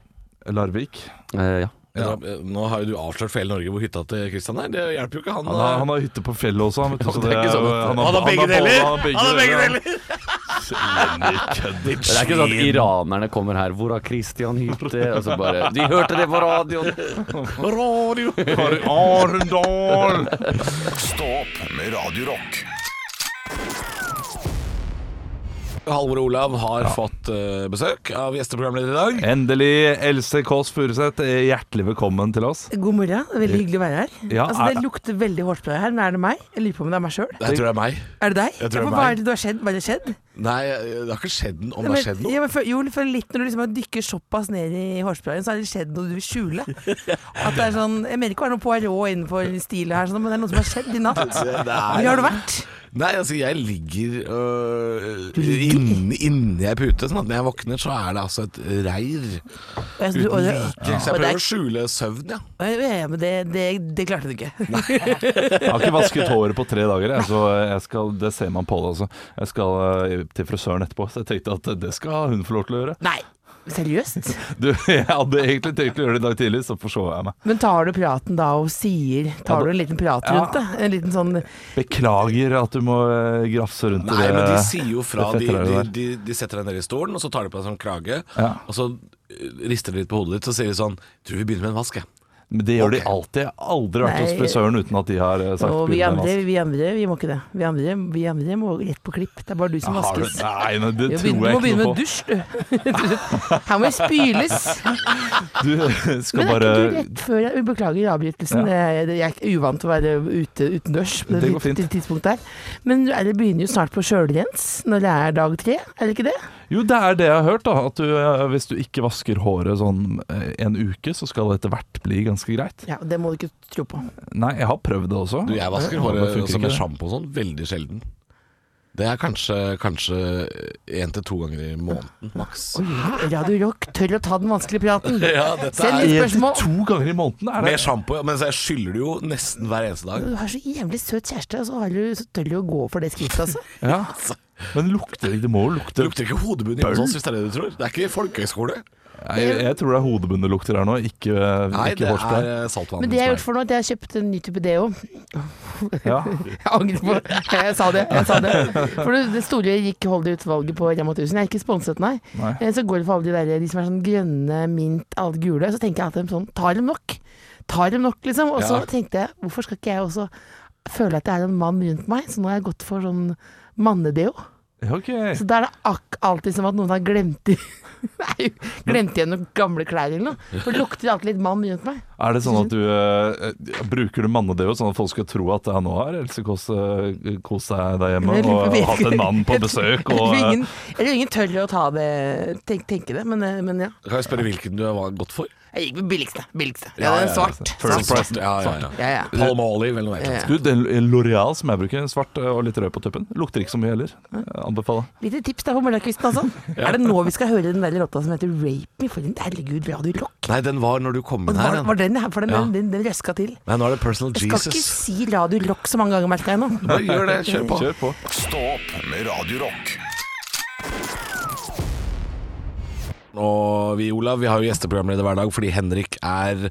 Speaker 4: Larvik.
Speaker 5: Eh, ja.
Speaker 3: Ja. Nå har jo du avslørt for hele Norge hvor hytta til Kristian er. Det hjelper jo ikke han.
Speaker 4: Han har,
Speaker 3: eh.
Speaker 4: han har hytte på fjellet også. Han, vet, du, så
Speaker 5: det er ikke
Speaker 4: jo-
Speaker 5: sånn at-
Speaker 3: Han har begge deler! Han har begge
Speaker 4: Elendig
Speaker 5: Det er ikke
Speaker 4: kødd.
Speaker 5: sånn at iranerne kommer her 'Hvor har Christian hytte?' Og så bare 'De hørte det på radioen'.
Speaker 4: Radio Kari Arendal!
Speaker 1: Stå opp med Radio Rock.
Speaker 3: Halvor og Olav har fått eh, besøk av gjesteprogramleder i dag.
Speaker 4: Endelig, Else Kåss Furuseth, eh, hjertelig velkommen til oss.
Speaker 7: God morgen, veldig hyggelig å være her.
Speaker 4: Ja,
Speaker 7: altså,
Speaker 4: er-
Speaker 7: det lukter veldig hårspray her. Men er det meg? Jeg lurer på om det er meg sjøl.
Speaker 3: Jeg tror det er meg.
Speaker 7: Er det deg?
Speaker 3: Jeg tror det
Speaker 7: Ja,
Speaker 3: er
Speaker 7: for Hva
Speaker 3: meg.
Speaker 7: er det du har skjedd? Hva er det skjedd?
Speaker 3: Nei, det har ikke skjedd noe. Om det har skjedd
Speaker 7: Ja,
Speaker 3: noe.
Speaker 7: men for, jo, for litt når du liksom dykker såpass ned i hårsprayen, så har det skjedd noe du vil skjule. At det er sånn, Jeg mener ikke å være noe Poirot innenfor stilet her, sånn, men det er noe som har skjedd i natt.
Speaker 3: Nei.
Speaker 7: Hvor har du vært?
Speaker 3: Nei, altså jeg ligger øh, inni inni ei pute. Sånn at når jeg våkner, så er det altså et reir
Speaker 7: Og jeg-
Speaker 3: uten
Speaker 7: og det-
Speaker 3: like. Så jeg
Speaker 7: og det
Speaker 3: prøver
Speaker 7: er-
Speaker 3: å skjule søvn, ja.
Speaker 7: Ja, ja, men det, det, det klarte du ikke.
Speaker 4: Jeg har ikke vasket håret på tre dager, jeg, så jeg skal, det ser man på det. Altså. Jeg skal eh, til frisøren etterpå, så jeg tenkte at det skal hun få lov til å gjøre.
Speaker 7: Nei, seriøst?
Speaker 4: Du, jeg hadde egentlig tenkt å gjøre det i dag tidlig, så forsov jeg meg.
Speaker 7: Men tar du praten da og sier Tar du en liten prat rundt det? En liten sånn
Speaker 4: Beklager at du må eh, grafse rundt
Speaker 3: Nei,
Speaker 4: i det.
Speaker 3: men de sier jo fra.
Speaker 4: det
Speaker 3: De,
Speaker 4: fettere
Speaker 3: de,
Speaker 4: det der.
Speaker 3: de, de setter deg ned i stolen, og så tar de på deg sånn krage.
Speaker 4: Ja.
Speaker 3: Og så øh, rister de litt på hodet ditt, så sier de sånn Tror vi begynner med en vask, jeg.
Speaker 4: Men det gjør de
Speaker 3: Ok.
Speaker 4: alltid. Jeg har aldri vært hos
Speaker 7: Nei.
Speaker 4: frisøren uten at de har eh, sagt
Speaker 7: Og vi
Speaker 4: bildet
Speaker 7: andre,
Speaker 4: hennes.
Speaker 7: vi andre, vi må ikke det. Vi andre, vi andre må rett på klipp. Det er bare du som
Speaker 4: Har du-
Speaker 7: vaskes.
Speaker 4: Nei, nei, det
Speaker 7: Ja,
Speaker 4: tror
Speaker 7: begynn- Du må
Speaker 4: jeg ikke
Speaker 7: begynne med
Speaker 4: noe på.
Speaker 7: dusj, du. Her må det spyles.
Speaker 4: Du skal
Speaker 7: Men er
Speaker 4: bare
Speaker 7: ikke du rett før jeg Beklager avbrytelsen. Jeg, jeg er ikke uvant til å være ute utendørs på
Speaker 4: Det
Speaker 7: det
Speaker 4: går fint.
Speaker 7: tid- tidspunktet her. Men er det begynner jo snart på sjølrens når det er dag tre, er det ikke det?
Speaker 4: Jo, det er det jeg har hørt, da. At du, eh, hvis du ikke vasker håret sånn eh, en uke, så skal det etter hvert bli ganske greit.
Speaker 7: Ja, Det må du ikke tro på.
Speaker 4: Nei, jeg har prøvd det også.
Speaker 3: Du, jeg vasker
Speaker 4: Ja, det
Speaker 3: håret
Speaker 4: funker
Speaker 3: også
Speaker 4: ikke,
Speaker 3: med
Speaker 4: det.
Speaker 3: sjampo og sånn veldig sjelden. Det er kanskje Kanskje én til to ganger i måneden, maks.
Speaker 7: Radio Rock tør å ta den vanskelige praten.
Speaker 3: Ja, dette
Speaker 7: Mm. Send
Speaker 3: er
Speaker 7: litt
Speaker 4: En til
Speaker 7: spørsmål.
Speaker 4: to ganger i måneden er det.
Speaker 3: med sjampo, ja, mens jeg skyller det jo nesten hver eneste dag.
Speaker 7: Du har så jævlig søt kjæreste, og så, har du, så tør du å gå for det skrittet, altså.
Speaker 4: Ja. Men lukter det Det må jo
Speaker 3: Det
Speaker 4: lukte
Speaker 3: lukter ikke hodebunn hjemme hos oss, hvis det er det du tror. Det er ikke folkehøyskole.
Speaker 4: Nei, Jeg, jeg tror det er hodebunn det lukter her nå, ikke,
Speaker 3: Nei,
Speaker 4: ikke
Speaker 3: det er
Speaker 4: hårspray.
Speaker 3: eh, saltvann.
Speaker 7: Men det jeg har gjort for nå, er at jeg har kjøpt en ny type deo.
Speaker 4: Ja.
Speaker 7: Jeg angrer på Jeg sa det. jeg sa det For det- det store gikk hold det ut-valget på Rema 1000. Jeg er ikke sponset, nei.
Speaker 4: Nei.
Speaker 7: Eh, Så går det for alle de der de som er sånn grønne, mint, alt gule. Så tenker jeg at de sånn Tar dem nok? Tar dem nok, liksom? Og så
Speaker 3: Ja.
Speaker 7: tenkte jeg, hvorfor skal ikke jeg også føle at jeg er en mann rundt meg? Så nå har jeg gått for sånn mannedeo.
Speaker 4: Ja, Ok.
Speaker 7: Så da er det ak alltid som at noen har glemt i Nei, glemt igjen noen gamle klær eller noe. For det lukter alltid litt mann rundt meg.
Speaker 4: Er det sånn at du eh, Bruker du mannedeo sånn at folk skal tro at det er nå her? Else Kåss eh, kost seg der
Speaker 7: Men
Speaker 4: hjemme
Speaker 7: jeg
Speaker 4: og
Speaker 7: lurer på
Speaker 4: hatt en
Speaker 7: virkelig-
Speaker 4: mann på besøk og
Speaker 7: Jeg tror
Speaker 4: eh,
Speaker 7: ingen, jeg tror ingen tør å ta det, tenk, tenke det, men, eh, men ja.
Speaker 3: Kan jeg spørre hvilken du har gått for?
Speaker 7: Jeg gikk med billigste. billigste. Ja, det er svart. svart.
Speaker 3: First price. Ja, ja, ja.
Speaker 7: Ja, ja.
Speaker 3: Palm Olive eller noe
Speaker 7: Ja,
Speaker 3: annet.
Speaker 7: ja.
Speaker 4: Du, den L'Oreal som jeg bruker, svart eh, og litt rød på tuppen, lukter ikke så mye heller. Eh, Anbefaler.
Speaker 7: Lite tips der på morgenkvisten, altså. Er det nå vi skal høre den der låta som heter 'Rape Me'? For en herregud, Radio Rock.
Speaker 3: Nei, den var når du kom inn her.
Speaker 7: Var, var
Speaker 3: Den.
Speaker 7: den her, for den,
Speaker 3: Ja.
Speaker 7: den, den, den røska til.
Speaker 3: Nei, nå er det Personal
Speaker 7: Jeg skal ikke
Speaker 3: Jesus.
Speaker 7: si Radio Rock så mange ganger, merka jeg nå.
Speaker 3: Nå gjør det, kjør på.
Speaker 4: Kjør på.
Speaker 1: Stå opp med Radio Rock.
Speaker 3: Og vi, Olav, vi har jo gjesteprogramleder hver dag fordi Henrik er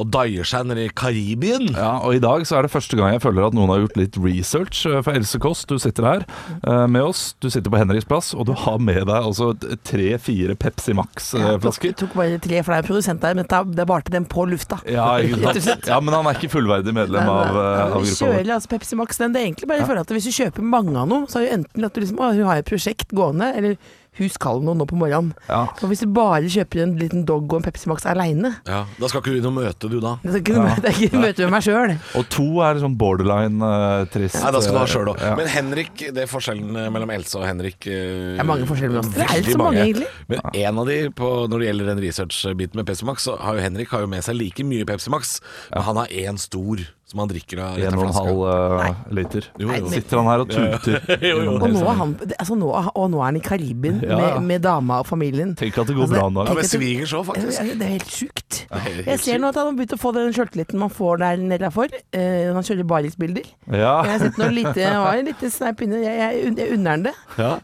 Speaker 3: og daier seg nede i Karibien.
Speaker 4: Ja, og i dag så er det første gang jeg føler at noen har gjort litt research. eh, For Else Kåss, du sitter her eh, med oss. Du sitter på Henriks plass, og du har med deg altså tre-fire Pepsi eh, Max-flasker.
Speaker 7: Tok, tok bare tre, for det er en produsent der, men det det barte dem på lufta.
Speaker 4: Ja, ikke
Speaker 7: Rett og
Speaker 4: sant?
Speaker 7: slett.
Speaker 4: ja, men han er ikke fullverdig medlem
Speaker 7: Nei,
Speaker 4: av,
Speaker 7: nei,
Speaker 4: eh,
Speaker 7: nei,
Speaker 4: av
Speaker 7: vi
Speaker 4: gruppa vår.
Speaker 7: kjører altså Pepsi Max den. Det er egentlig bare for at hvis du kjøper mange av noe, så er jo enten at du liksom Å, hun har et prosjekt gående, eller hun skal noe nå på morgenen.
Speaker 4: Ja.
Speaker 7: Og hvis du bare kjøper en liten dog og en Pepsi Max aleine,
Speaker 3: Ja, Da skal ikke du inn og møte, du da.
Speaker 7: det er ikke det er ikke et møte med meg sjøl.
Speaker 4: Og to er sånn borderline eh, trist.
Speaker 3: Nei, da skal du ha sjøl òg.
Speaker 4: Ja.
Speaker 3: Men Henrik, det er forskjellen eh, mellom Else og Henrik Det
Speaker 7: er mange forskjeller mellom oss. Det er så mange, egentlig.
Speaker 3: Men en av de, på, når det gjelder den research-biten med Pepsi Max, så har jo Henrik har jo med seg like mye Pepsi Max, men han har én stor som han drikker av rett
Speaker 4: En og
Speaker 3: av
Speaker 4: en
Speaker 3: flaska.
Speaker 4: halv eh, liter.
Speaker 7: Nei, men-
Speaker 4: Sitter han her og tuter.
Speaker 7: Og nå, er han, det- altså nå, er- og nå er han i Karibien
Speaker 4: Ja, ja.
Speaker 7: med, med dama og familien.
Speaker 4: Tenk at det går
Speaker 7: Altså,
Speaker 4: bra nå.
Speaker 3: Ja,
Speaker 4: da.
Speaker 7: tenk-
Speaker 3: med svigers
Speaker 7: Det
Speaker 3: òg, faktisk.
Speaker 7: er det er helt sjukt.
Speaker 3: helt
Speaker 7: Jeg ser nå at han har begynt å få den sjøltilliten man får der nede for. Eh, han kjører barisbilder. Jeg
Speaker 4: Ja.
Speaker 7: har sett noe lite, jeg har en liten sneip inne. Jeg, jeg, unn- jeg unner han det.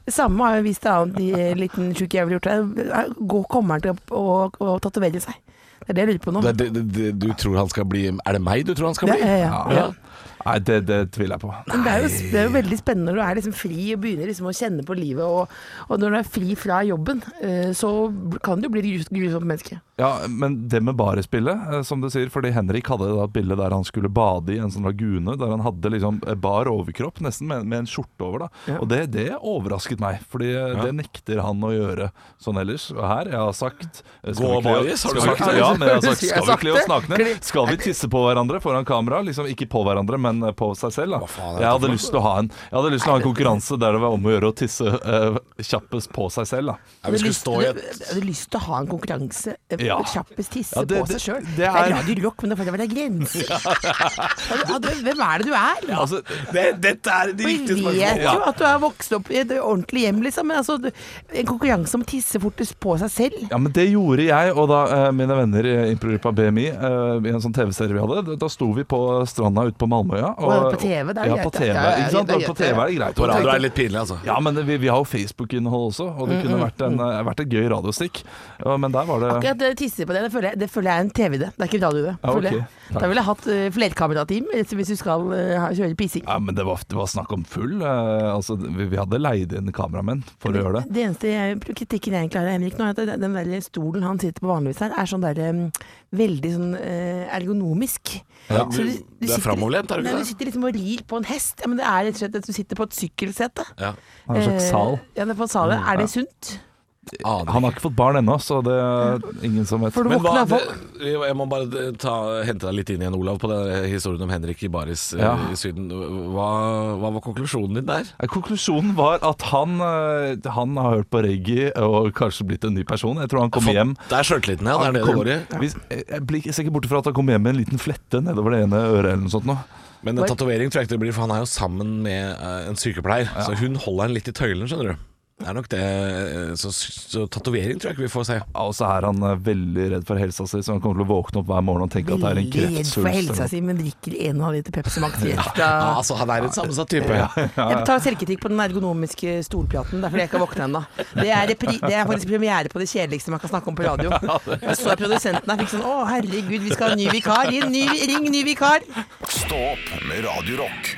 Speaker 7: Det samme har jo vist en annen de, eh, liten sjuk jævel gjort. her. Eh, Gå, kommer han til å, å, å tatovere seg? Det er det jeg lurer på nå.
Speaker 3: Det, det, det, det, du tror han skal bli Er det meg du tror han skal
Speaker 7: Ja,
Speaker 3: bli?
Speaker 7: ja, ja.
Speaker 4: Ja. Nei, det, det tviler jeg på.
Speaker 7: Men det er, jo, det er jo veldig spennende når du er liksom fri og begynner liksom å kjenne på livet. Og, og når du er fri fra jobben, eh, så kan du bli et grus- grusomt menneske.
Speaker 4: Ja, men det med barespillet, eh, som du sier Fordi Henrik hadde da et bilde der han skulle bade i en sånn lagune, der han hadde liksom eh, bar overkropp, nesten med, med en skjorte over. da Og det, det overrasket meg, Fordi eh, det nekter han å gjøre sånn ellers. Og her, jeg har sagt eh, skal
Speaker 3: Gå
Speaker 4: vi kle-
Speaker 3: baris, har
Speaker 4: skal vi
Speaker 3: du sagt
Speaker 4: kle-
Speaker 3: det?
Speaker 4: Ja, men jeg har sagt
Speaker 7: Jeg har
Speaker 4: skal vi
Speaker 7: sagt
Speaker 4: kle oss
Speaker 7: det.
Speaker 4: nakne?
Speaker 7: Kle-
Speaker 4: Skal vi tisse på hverandre foran kamera? Liksom Ikke på hverandre, men eh, på seg selv.
Speaker 3: Hva
Speaker 4: da
Speaker 3: faen er
Speaker 4: Jeg
Speaker 3: dette for
Speaker 4: hadde
Speaker 3: noe?
Speaker 4: lyst til å ha en Jeg hadde lyst til å ha en konkurranse der det var om å gjøre å tisse eh, kjappest på seg selv. da
Speaker 3: Jeg skulle stå i et
Speaker 7: Jeg hadde lyst til å ha en konkurranse eh,
Speaker 4: Ja.
Speaker 7: kjappest tisse
Speaker 4: Ja, det-
Speaker 7: på
Speaker 4: det-
Speaker 7: seg sjøl.
Speaker 4: det
Speaker 7: Det er
Speaker 4: er-
Speaker 7: Radio Rock, men det får ikke være grenser. Ja, du- Hvem er det du er?
Speaker 4: Altså,
Speaker 3: Dette er de
Speaker 7: Vi
Speaker 3: riktige
Speaker 7: vet
Speaker 3: spørsmålene.
Speaker 7: jo at du er vokst opp i et ordentlig hjem, liksom. Men altså, du- en konkurranse om tisse fortest på seg selv
Speaker 4: Ja, men det gjorde jeg og da eh, mine venner i Improgruppa BMI eh, i en sånn TV-serie vi hadde. Da- Da sto vi på stranda ute på Malmøya.
Speaker 7: Å, ja, på TV, det er
Speaker 4: ja,
Speaker 7: greit,
Speaker 4: på
Speaker 7: da.
Speaker 4: TV,
Speaker 7: Ja, ja,
Speaker 4: ikke sant?
Speaker 7: det er
Speaker 4: Og på
Speaker 7: greit,
Speaker 4: TV er det
Speaker 7: ja.
Speaker 4: greit.
Speaker 3: På radio er det litt pinlig, altså.
Speaker 4: Ja, men vi, vi har jo Facebook-innhold også, og
Speaker 7: Mm,
Speaker 4: det kunne vært, en, eh, vært et gøy radiostikk. Ja, Men der var det
Speaker 7: Akkurat det tisse på det, det føler jeg, det føler jeg er en TV-idé. Det er ikke en radio-idé.
Speaker 4: Ja,
Speaker 7: føler
Speaker 4: ok.
Speaker 7: jeg.
Speaker 4: Takk.
Speaker 7: Da ville jeg hatt uh, flerkamerateam eh, hvis du skal eh, ha- kjøre pissing.
Speaker 4: ja, men det var, det var snakk om full. eh, altså, vi, vi hadde leid inn kameramenn for å gjøre det.
Speaker 7: Det eneste jeg, kritikken jeg egentlig har av Henrik nå, er at den der stolen han sitter på vanligvis her, er sånn der um, veldig sånn eh, ergonomisk.
Speaker 3: Ja,
Speaker 7: Så
Speaker 3: du- det er
Speaker 7: sitter-
Speaker 3: framoverlent, er det ikke
Speaker 7: Nei,
Speaker 3: det?
Speaker 7: du sitter liksom og rir på en hest. Ja, men det er rett og slett at du sitter på et sykkelsete.
Speaker 3: Ja.
Speaker 4: Han har en slags
Speaker 7: Eh,
Speaker 4: sal.
Speaker 7: Ja, det er på salen.
Speaker 3: Mm,
Speaker 7: Er det sunt?
Speaker 3: Aner
Speaker 4: Han har ikke fått barn ennå, så det er ingen som vet.
Speaker 7: For du
Speaker 3: Men hva,
Speaker 7: våkner
Speaker 3: det,
Speaker 7: av
Speaker 3: jeg må bare ta, hente deg litt inn igjen, Olav, på den historien om Henrik i baris eh,
Speaker 4: Ja.
Speaker 3: i Syden. Hva, hva var konklusjonen din der?
Speaker 4: Eh, Konklusjonen var at han, eh, han har hørt på reggae og kanskje blitt en ny person. Jeg tror han kom hjem
Speaker 3: Det er sjøltilliten, ja. Det er det det
Speaker 4: kom-
Speaker 3: går i.
Speaker 4: Hvis, jeg jeg blir ikke sikkert borte fra at han kom hjem med en liten flette nedover det ene øret eller noe sånt. Nå.
Speaker 3: Men en tatovering tror jeg ikke det blir, for han er jo sammen med eh, en sykepleier. Så hun holder han litt i tøylen, skjønner du. Det er nok det. eh, Så, så tatovering tror jeg ikke vi får se.
Speaker 4: Ja, Og så er han eh, veldig redd for helsa si, så han kommer til å våkne opp hver morgen og tenke at det er en
Speaker 7: Veldig redd for
Speaker 4: kreftsvulst.
Speaker 7: helsa
Speaker 4: eller noe.
Speaker 7: si, men drikker 1,5 liter Pepsi Max i ett.
Speaker 3: Ja,
Speaker 7: da-
Speaker 3: altså, han er en sammensatt type.
Speaker 7: Jeg tar selvkritikk på den ergonomiske stolplaten. Det er fordi jeg ikke har våkna ennå. Det, er repri- det er faktisk premiere på det kjedeligste man kan snakke om på radio. Og så er produsenten her fikk sånn Å, herregud, vi skal ha ny vikar. Inn, ny, ring ny vikar.
Speaker 1: Stå opp med Radio Rock.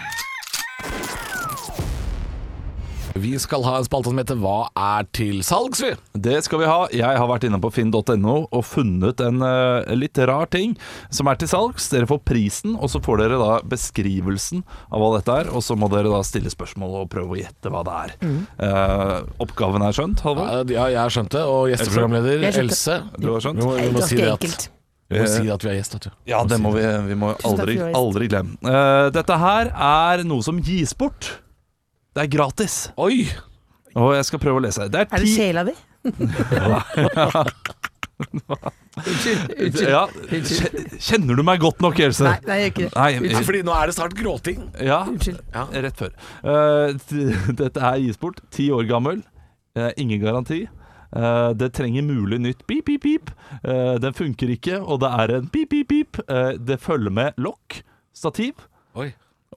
Speaker 3: Vi skal ha en spalte som heter Hva er til salgs, vi?
Speaker 4: Det skal vi ha. Jeg har vært inne på finn.no og funnet en eh, litt rar ting som er til salgs. Dere får prisen, og så får dere da beskrivelsen av hva dette er. Og så må dere da stille spørsmål og prøve å gjette hva det er.
Speaker 7: Mm.
Speaker 4: Eh, oppgaven er skjønt, Halvor?
Speaker 3: Ja, jeg har skjønt det. Og gjesteprogramleder
Speaker 7: Jeg skjønte.
Speaker 3: Else.
Speaker 4: Du har skjønt?
Speaker 3: Vi må, vi må,
Speaker 7: Ganske
Speaker 3: si, det at,
Speaker 7: enkelt.
Speaker 3: vi må si det at vi er gjest, vet du.
Speaker 4: Eh, Ja, det må vi, eh, vi må
Speaker 7: Tusen takk for
Speaker 4: aldri,
Speaker 7: i år.
Speaker 4: aldri glemme. Eh, dette her er noe som gis bort. Det er gratis.
Speaker 3: Oi!
Speaker 4: Og jeg skal prøve å lese. Det er
Speaker 7: Er det
Speaker 4: ti
Speaker 7: sjela di? Unnskyld. unnskyld.
Speaker 4: ja, kje- Kjenner du meg godt nok, Else?
Speaker 7: Nei, nei, jeg gjør ikke det.
Speaker 4: Nei,
Speaker 3: Ja, fordi nå er det snart gråting.
Speaker 4: ja,
Speaker 7: Unnskyld.
Speaker 3: Ja.
Speaker 4: rett før. Eh, t- dette her gis bort. Ti år gammel. Eh, ingen garanti. Eh, det trenger mulig nytt pip, pip, pip. Eh, den funker ikke, og det er en pip, pip, pip. Eh, det følger med lokk, stativ
Speaker 3: Oi.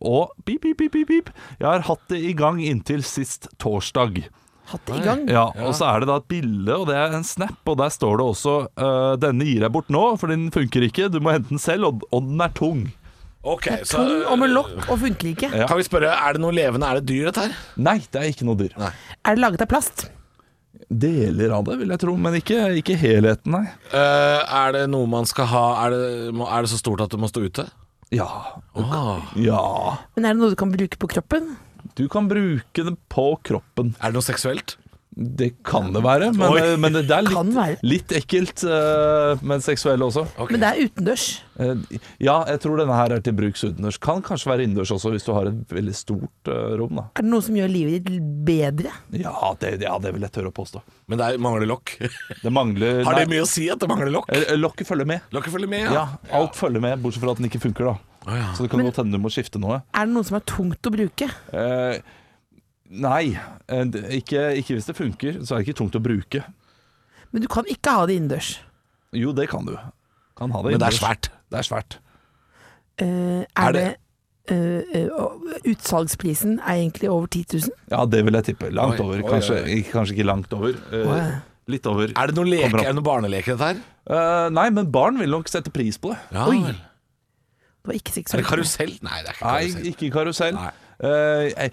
Speaker 4: og pip, pip, pip, pip, pip. Jeg har hatt det i gang inntil sist torsdag.
Speaker 7: Hatt det i gang.
Speaker 4: Ja, Og så er det da et bilde, og det er en snap, og der står det også eh, 'Denne gir jeg bort nå, for den funker ikke. Du må hente den selv, og, og den er tung'.
Speaker 3: Ok, så
Speaker 7: Tung og med lokk og funker ikke.
Speaker 4: Ja.
Speaker 3: Kan vi spørre, er det noe levende? Er det dyr, dette her?
Speaker 4: Nei, det er ikke noe dyr.
Speaker 7: Er det laget av plast?
Speaker 4: Deler av det, vil jeg tro, men ikke, ikke helheten, nei.
Speaker 3: Eh, er det noe man skal ha Er det, må- er det så stort at det må stå ute?
Speaker 4: Ja.
Speaker 3: Ah.
Speaker 4: ja.
Speaker 7: Men er det noe du kan bruke på kroppen?
Speaker 4: Du kan bruke det på kroppen.
Speaker 3: Er det noe seksuelt?
Speaker 4: Det kan det være, men, eh,
Speaker 3: Oi.
Speaker 4: men det er
Speaker 7: Kan være.
Speaker 4: litt, litt ekkelt. eh, men seksuelle også.
Speaker 3: Ok.
Speaker 7: Men det er utendørs.
Speaker 4: Eh, ja, jeg tror denne her er til bruks utendørs. Kan kanskje være innendørs også, hvis du har et veldig stort eh, rom. da
Speaker 7: Er det noe som gjør livet ditt bedre?
Speaker 4: ja det, ja, det vil jeg tørre å påstå.
Speaker 3: Men det er, mangler lokk.
Speaker 4: Det mangler
Speaker 3: Har det
Speaker 4: nei,
Speaker 3: mye å si at det mangler lokk?
Speaker 4: eh, Lokket følger med.
Speaker 3: Lokket følger med,
Speaker 4: Ja.
Speaker 3: ja.
Speaker 4: alt følger med, bortsett fra at den ikke funker, da.
Speaker 3: Å, ja.
Speaker 4: Så det kan godt hende du må skifte noe.
Speaker 7: Er det noe som er tungt å bruke?
Speaker 4: Eh, nei, eh, det- ikke, ikke hvis det funker, så er det ikke tungt å bruke.
Speaker 7: Men du kan ikke ha det innendørs.
Speaker 4: Jo, det kan du. Kan ha det
Speaker 3: Men det er
Speaker 4: innendørs.
Speaker 3: svært.
Speaker 4: Det er svært.
Speaker 7: Eh, er,
Speaker 3: Er
Speaker 7: det,
Speaker 3: det-
Speaker 7: eh, eh, og utsalgsprisen er egentlig over 10 000?
Speaker 4: Ja, det vil jeg tippe. Langt
Speaker 3: Oi,
Speaker 4: over.
Speaker 3: oi, oi.
Speaker 4: Kanskje, ikke- kanskje ikke langt over. Eh,
Speaker 7: Oi.
Speaker 4: litt over.
Speaker 3: Er det noen
Speaker 4: Kommer
Speaker 3: leker,
Speaker 4: opp.
Speaker 3: er det noen barneleker, dette her?
Speaker 4: Eh, nei, men barn vil nok sette pris på det.
Speaker 3: Ja,
Speaker 7: Oi.
Speaker 3: vel.
Speaker 7: Det var ikke
Speaker 3: Er
Speaker 7: seksuelt.
Speaker 3: det karusell? Nei, det er ikke
Speaker 4: Nei,
Speaker 3: karusell.
Speaker 4: ikke karusell.
Speaker 3: Nei.
Speaker 4: Eh, jeg-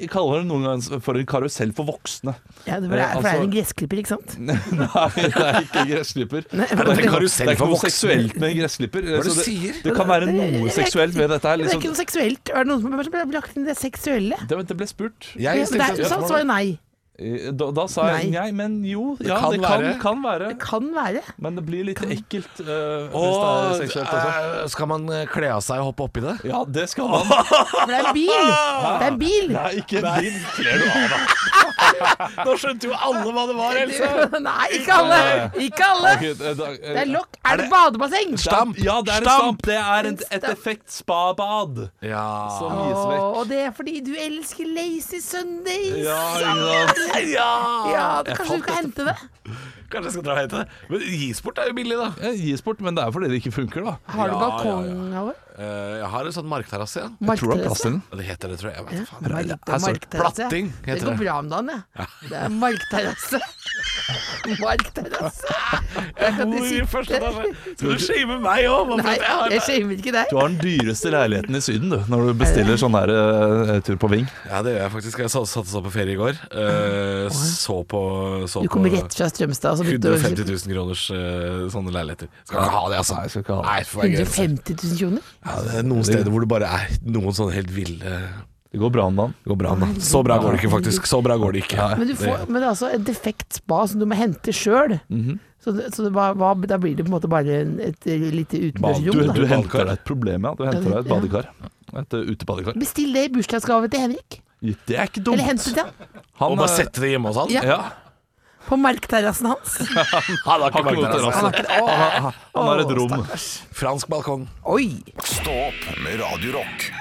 Speaker 4: jeg kaller det noen ganger for en karusell for voksne.
Speaker 7: Ja, det, for, det
Speaker 4: Eh,
Speaker 7: er, for det
Speaker 4: altså,
Speaker 7: er en gressklipper, ikke sant?
Speaker 4: Nei, det er ikke gressklipper.
Speaker 7: Nei,
Speaker 4: Og det er
Speaker 3: en
Speaker 4: ikke noe-
Speaker 3: karusell
Speaker 4: det er ikke
Speaker 3: for
Speaker 4: noe
Speaker 3: voksne?
Speaker 4: seksuelt med gressklipper.
Speaker 3: er det
Speaker 4: så
Speaker 3: du sier?
Speaker 4: det kan være noe seksuelt ved dette her.
Speaker 7: Det er ikke
Speaker 4: Liksom.
Speaker 7: noe seksuelt. Er det noen som har lagt inn det seksuelle?
Speaker 4: Det, det ble spurt.
Speaker 3: Jeg
Speaker 7: Men det
Speaker 3: stilte
Speaker 7: er, så
Speaker 3: spørsmål.
Speaker 7: svaret nei.
Speaker 4: Eh, Da, da sa jeg
Speaker 7: Nei.
Speaker 4: nei, men jo. Ja,
Speaker 3: kan
Speaker 4: det kan
Speaker 3: være.
Speaker 4: være. Kan være.
Speaker 7: Kan være.
Speaker 4: Men det blir litt ekkelt eh, hvis
Speaker 3: Og
Speaker 4: det er seksuelt også.
Speaker 3: eh, skal man eh, kle av seg og hoppe oppi det?
Speaker 4: Ja, det skal man.
Speaker 7: For det er en bil! Det er en bil!
Speaker 4: Nei, ikke en bil. Kler du av deg?
Speaker 3: Nå skjønte jo alle hva det var,
Speaker 7: Nei, ikke alle! Ikke alle!
Speaker 4: Ok, eh, da- eh,
Speaker 7: Det er lokk. Er det badebasseng?
Speaker 3: Stamp!
Speaker 4: Ja, det er en
Speaker 3: Stamp!
Speaker 4: stamp. Det er en, et
Speaker 7: Stamp.
Speaker 4: effekt spabad
Speaker 3: Ja.
Speaker 4: som gis
Speaker 7: Åh,
Speaker 4: vekk.
Speaker 7: og det er fordi du elsker Lazy Sundays.
Speaker 4: Ja, ikke sant?
Speaker 7: Ja, det, kanskje du kan hente det?
Speaker 3: Kanskje jeg skal dra og hente det. Men Gisport er jo billig, da.
Speaker 4: Ja, Gis bort, Eh, men det er fordi det ikke funker, da.
Speaker 7: Har du
Speaker 3: Ja,
Speaker 7: balkong,
Speaker 3: ja,
Speaker 7: Halvor?
Speaker 3: Eh, jeg har en sånn markterrasse igjen.
Speaker 4: Tror du det er plass til den?
Speaker 3: Det heter det, tror jeg. jeg vet, ikke faen.
Speaker 7: Mark-
Speaker 4: er så-
Speaker 7: markterrasse.
Speaker 3: platting heter
Speaker 7: Det går
Speaker 3: det.
Speaker 7: bra om dagen, jeg. Det er markterrasse. Markterrasse. Jeg kan ikke si-
Speaker 3: Skal du shame meg òg?
Speaker 7: Nei, jeg shamer ikke deg.
Speaker 4: Du har den dyreste leiligheten i Syden, du, når du bestiller sånn her eh, tur på Ving.
Speaker 3: Ja, det gjør jeg faktisk. Jeg satt- satte opp på ferie i går. Eh, så på, så
Speaker 7: Du kommer
Speaker 3: på
Speaker 7: rett fra Strømstad. og så begynte du å-
Speaker 3: 150 000 kroners eh, sånne leiligheter. Skal ikke ha det, altså.
Speaker 4: Nei, skal ikke ha det.
Speaker 3: Nei, for det er gøy.
Speaker 7: 150 000 kroner?
Speaker 3: Ja, det er noen steder hvor det bare er noen sånne helt ville
Speaker 4: Det går bra om dagen.
Speaker 3: Det går bra, da. Så bra går det ikke, faktisk. Så bra går det ikke.
Speaker 7: Men, du får, men det er altså et defekt spa som du må hente sjøl.
Speaker 4: Mhm.
Speaker 7: Så, det- så det, hva, hva, da blir det på en måte bare en- et lite
Speaker 4: Du,
Speaker 7: utendørsrom.
Speaker 4: du
Speaker 7: da.
Speaker 4: henter deg et problem, ja. Du henter deg et
Speaker 7: Ja.
Speaker 4: badekar. Et eh, utebadekar.
Speaker 7: Bestill det i bursdagsgave til Henrik.
Speaker 4: Det er ikke
Speaker 7: Eller
Speaker 4: dumt.
Speaker 7: hent det til han.
Speaker 4: Han,
Speaker 3: Og bare
Speaker 4: eh,
Speaker 3: sette det hjemme hos han?
Speaker 7: Ja.
Speaker 4: ja.
Speaker 7: På markterrassen hans.
Speaker 3: Han
Speaker 4: Har
Speaker 3: har ikke
Speaker 4: ikke noe
Speaker 3: markterrasse.
Speaker 4: terrasse. Han har- han har et
Speaker 7: Åh,
Speaker 4: rom.
Speaker 3: Fransk balkong.
Speaker 7: Oi!
Speaker 1: Stå opp med Radio Rock.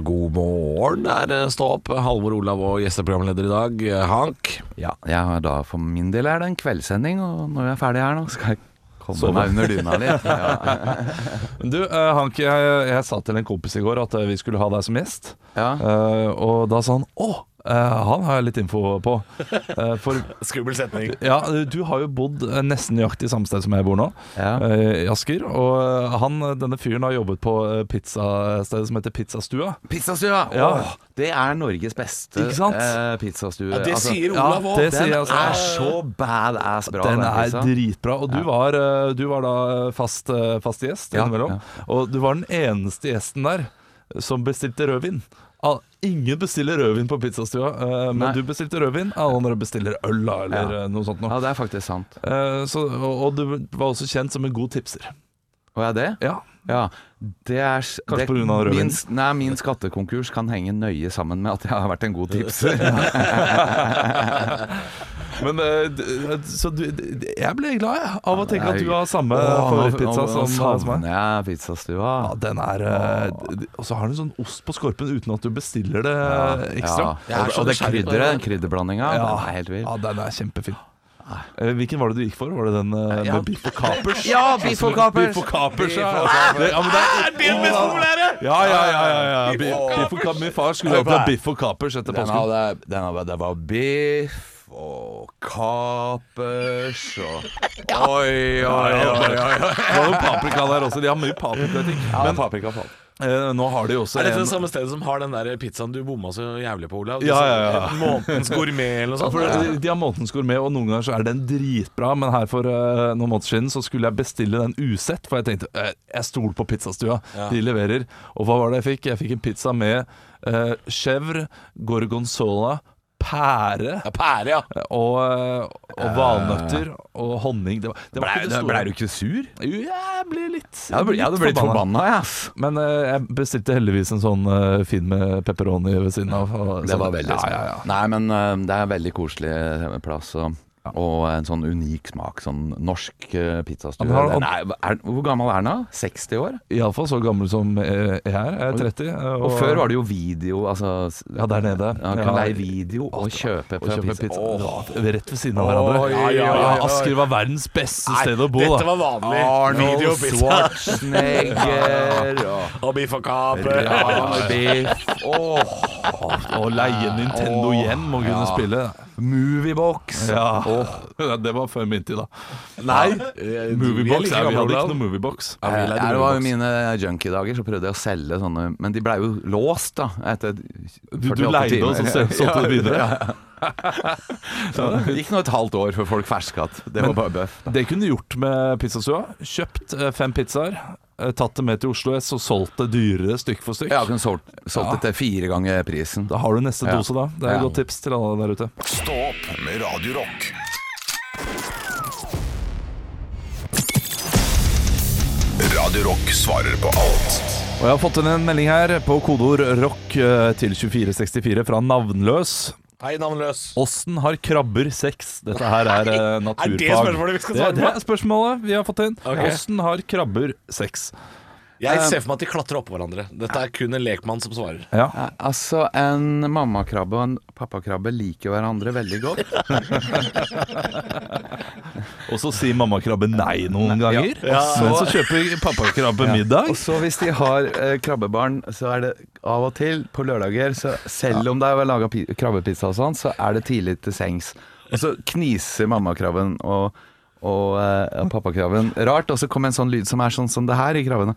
Speaker 3: God morgen, det
Speaker 4: eh,
Speaker 3: er Stå opp. Halvor Olav og gjesteprogramleder i dag, Hank.
Speaker 8: Ja, jeg har da for min del er det en kveldssending, og når jeg er ferdig her nå, skal jeg komme meg under dyna litt. Ja.
Speaker 4: Men Du, eh, Hank, jeg, jeg sa til en kompis i går at eh, vi skulle ha deg som gjest.
Speaker 8: Ja.
Speaker 4: Eh, og da sa han å, eh, han har jeg litt info på. Eh, for
Speaker 3: Skummel setning.
Speaker 4: ja, du har jo bodd eh, nesten nøyaktig samme sted som jeg bor nå,
Speaker 8: Ja.
Speaker 4: eh, i Asker. Og eh, han, eh, denne fyren har jobbet på eh, pizzasted som heter Pizzastua.
Speaker 8: Pizzastua!
Speaker 4: Ja.
Speaker 8: Åh, det er Norges beste
Speaker 4: Ikke sant?
Speaker 8: eh, pizzastue.
Speaker 3: Ja, det sier Olav òg.
Speaker 4: det
Speaker 8: Den
Speaker 4: sier jeg
Speaker 8: er
Speaker 4: altså.
Speaker 8: så badass bra,
Speaker 4: Den
Speaker 8: den,
Speaker 4: er
Speaker 8: pizzaen.
Speaker 4: dritbra. Og du var, eh, du var da fast, eh, fast gjest
Speaker 8: Ja,
Speaker 4: innimellom. Og du var den eneste gjesten der eh, som bestilte rødvin. Al- Ingen bestiller rødvin på pizzastua, eh, men
Speaker 8: Nei.
Speaker 4: du bestilte rødvin. Alle andre bestiller øl da, eller eh, noe sånt.
Speaker 8: Ja,
Speaker 4: Noe.
Speaker 8: det er faktisk sant.
Speaker 4: Eh, så, og, og du var også kjent som en god tipser.
Speaker 8: Og er det?
Speaker 4: Ja,
Speaker 8: Ja. Det er s-
Speaker 4: Kanskje
Speaker 8: det-
Speaker 4: på grunn av rødvin.
Speaker 8: Min, s- nei, min skattekonkurs kan henge nøye sammen med at jeg har vært en god tipser.
Speaker 4: men eh, d- Så du, d- jeg ble glad jeg, av å tenke at
Speaker 8: Nei.
Speaker 4: du har samme
Speaker 8: Åh, nå-
Speaker 4: favorittpizza
Speaker 8: nå- nå
Speaker 4: som, som meg.
Speaker 8: savner jeg pizzastua.
Speaker 4: Ja, den er eh, d- Og så har du sånn ost på skorpen uten at du bestiller det eh, ekstra.
Speaker 8: Ja. Og,
Speaker 3: så
Speaker 8: og det
Speaker 3: nysgjerrig på
Speaker 8: krydderet,
Speaker 3: det.
Speaker 8: den krydderblandinga,
Speaker 4: Ja.
Speaker 8: den er helt vill.
Speaker 4: Ja, den er kjempefin. Eh, Hvilken var det du gikk for? Var det den eh,
Speaker 8: Ja.
Speaker 4: med biff og kapers?
Speaker 8: Ja, biff og kapers.
Speaker 4: Biff og kapers, ja. Det- ja, men det er,
Speaker 3: den mest populære!
Speaker 4: ja, ja, ja, ja, ja. Biff og kapers. Min far skulle alltid ha biff og kapers etter
Speaker 8: Den
Speaker 4: påsken.
Speaker 8: hadde, den hadde, det var biff og kapers og Oi, oi, oi. oi, oi.
Speaker 4: Det var noe paprika der også. De har mye paprikating.
Speaker 8: Men,
Speaker 4: Men eh, nå har de jo også
Speaker 3: Er dette
Speaker 4: en
Speaker 3: det samme stedet som har den der pizzaen du bomma så jævlig på, Olav? sånn
Speaker 4: Ja, ja, ja.
Speaker 3: Månedens gourmet eller noe
Speaker 4: Ja,
Speaker 3: sånt?
Speaker 4: for de- De har månedens gourmet, og noen ganger så er den dritbra. Men her for eh, noen måneder siden så skulle jeg bestille den usett, for jeg tenkte eh, jeg stoler på pizzastua. De leverer. Og hva var det jeg fikk? Jeg fikk en pizza med uh, chèvre, gorgonzola, pære
Speaker 3: Ja, Pære, ja.
Speaker 4: og, eh, og valnøtter og honning. Det var, det var ikke det store.
Speaker 8: du ikke sur?
Speaker 4: Jo, jeg ble litt
Speaker 8: Jeg hadde blitt, jeg hadde blitt forbanna, jeg. ass.
Speaker 4: Men eh, jeg bestilte heldigvis en sånn eh, fin med pepperoni ved siden av. og
Speaker 8: Det
Speaker 4: sånn-
Speaker 8: var veldig
Speaker 4: ja, ja, ja.
Speaker 8: smart. Nei, men eh, det er en veldig koselig eh, plass. Og, og en sånn unik smak. Sånn norsk eh, pizzastue.
Speaker 4: Men har-
Speaker 8: Den er, er, hvor gammel er den da? 60 år?
Speaker 4: Iallfall så gammel som eh, jeg er. Jeg er 30. eh,
Speaker 8: Og før var det jo video, altså s-
Speaker 4: Ja, der nede.
Speaker 8: Ja, du
Speaker 4: Ja.
Speaker 8: kan leie video og kjøpe,
Speaker 4: og kjøpe pizza.
Speaker 8: Åh,
Speaker 4: Det var Rett ved siden av hverandre.
Speaker 3: Oi, oi, oi, oi.
Speaker 4: Asker var verdens beste sted å bo.
Speaker 3: Dette
Speaker 4: Da.
Speaker 3: var vanlig. Video,
Speaker 8: Arnold
Speaker 3: pizza
Speaker 8: Schwarzenegger og
Speaker 3: og biff og kaper.
Speaker 8: Rambiff. Åh,
Speaker 4: Å leie Nintendo hjem og kunne spille.
Speaker 8: Moviebox.
Speaker 4: Ja. Det var før min tid, da.
Speaker 8: Nei. Eh,
Speaker 4: Moviebox, ja, Vi hadde ikke noe
Speaker 3: noe
Speaker 4: moviebox.
Speaker 8: Ja,
Speaker 3: vi leide
Speaker 8: det var jo
Speaker 3: Moviebox.
Speaker 8: mine junkie-dager, så prøvde jeg å selge sånne Men de blei jo låst, da. Etter 48
Speaker 4: Du, du leide, og så
Speaker 8: timer.
Speaker 4: solgte du det videre?
Speaker 8: Så det gikk nå et halvt år før folk ferska at det var bare bøff.
Speaker 4: Det kunne du gjort med pizzastua. Kjøpt eh, fem pizzaer, eh, tatt det med til Oslo S og solgt det dyrere stykk for stykk.
Speaker 8: Jeg har kunnet solgt, solgt det til fire ganger prisen.
Speaker 4: Da har du neste
Speaker 8: Ja.
Speaker 4: dose, da. Det er et
Speaker 8: Ja.
Speaker 4: godt tips til alle der ute.
Speaker 1: Stå opp med Radio Rock. Radio Rock svarer på alt.
Speaker 4: Og jeg har fått inn en melding her på kodeord rock eh, til 2464 fra Navnløs.
Speaker 3: Hei, navnløs.
Speaker 4: Åssen har krabber sex? Dette her er eh, naturfag.
Speaker 3: det spørsmålet vi skal svare på?
Speaker 4: Det, det er spørsmålet vi har fått inn.
Speaker 3: Ok.
Speaker 4: Åssen har krabber sex?
Speaker 3: Jeg
Speaker 4: Eh,
Speaker 3: ser for meg at de klatrer oppå hverandre. Dette er kun en lekmann som svarer.
Speaker 4: Ja.
Speaker 8: Ja, Altså, en mammakrabbe og en pappakrabbe liker hverandre veldig godt.
Speaker 4: Og så sier mammakrabbe nei noen ganger.
Speaker 8: Ja.
Speaker 4: Men så kjøper pappakrabbe middag.
Speaker 8: Og så hvis de har eh, krabbebarn, så er det av og til på lørdager så Selv om det er laga krabbepizza og sånn, så er det tidlig til sengs. Og så kniser mammakrabben og, og eh, pappakrabben rart, og så kommer en sånn lyd som er sånn som det her i krabbene.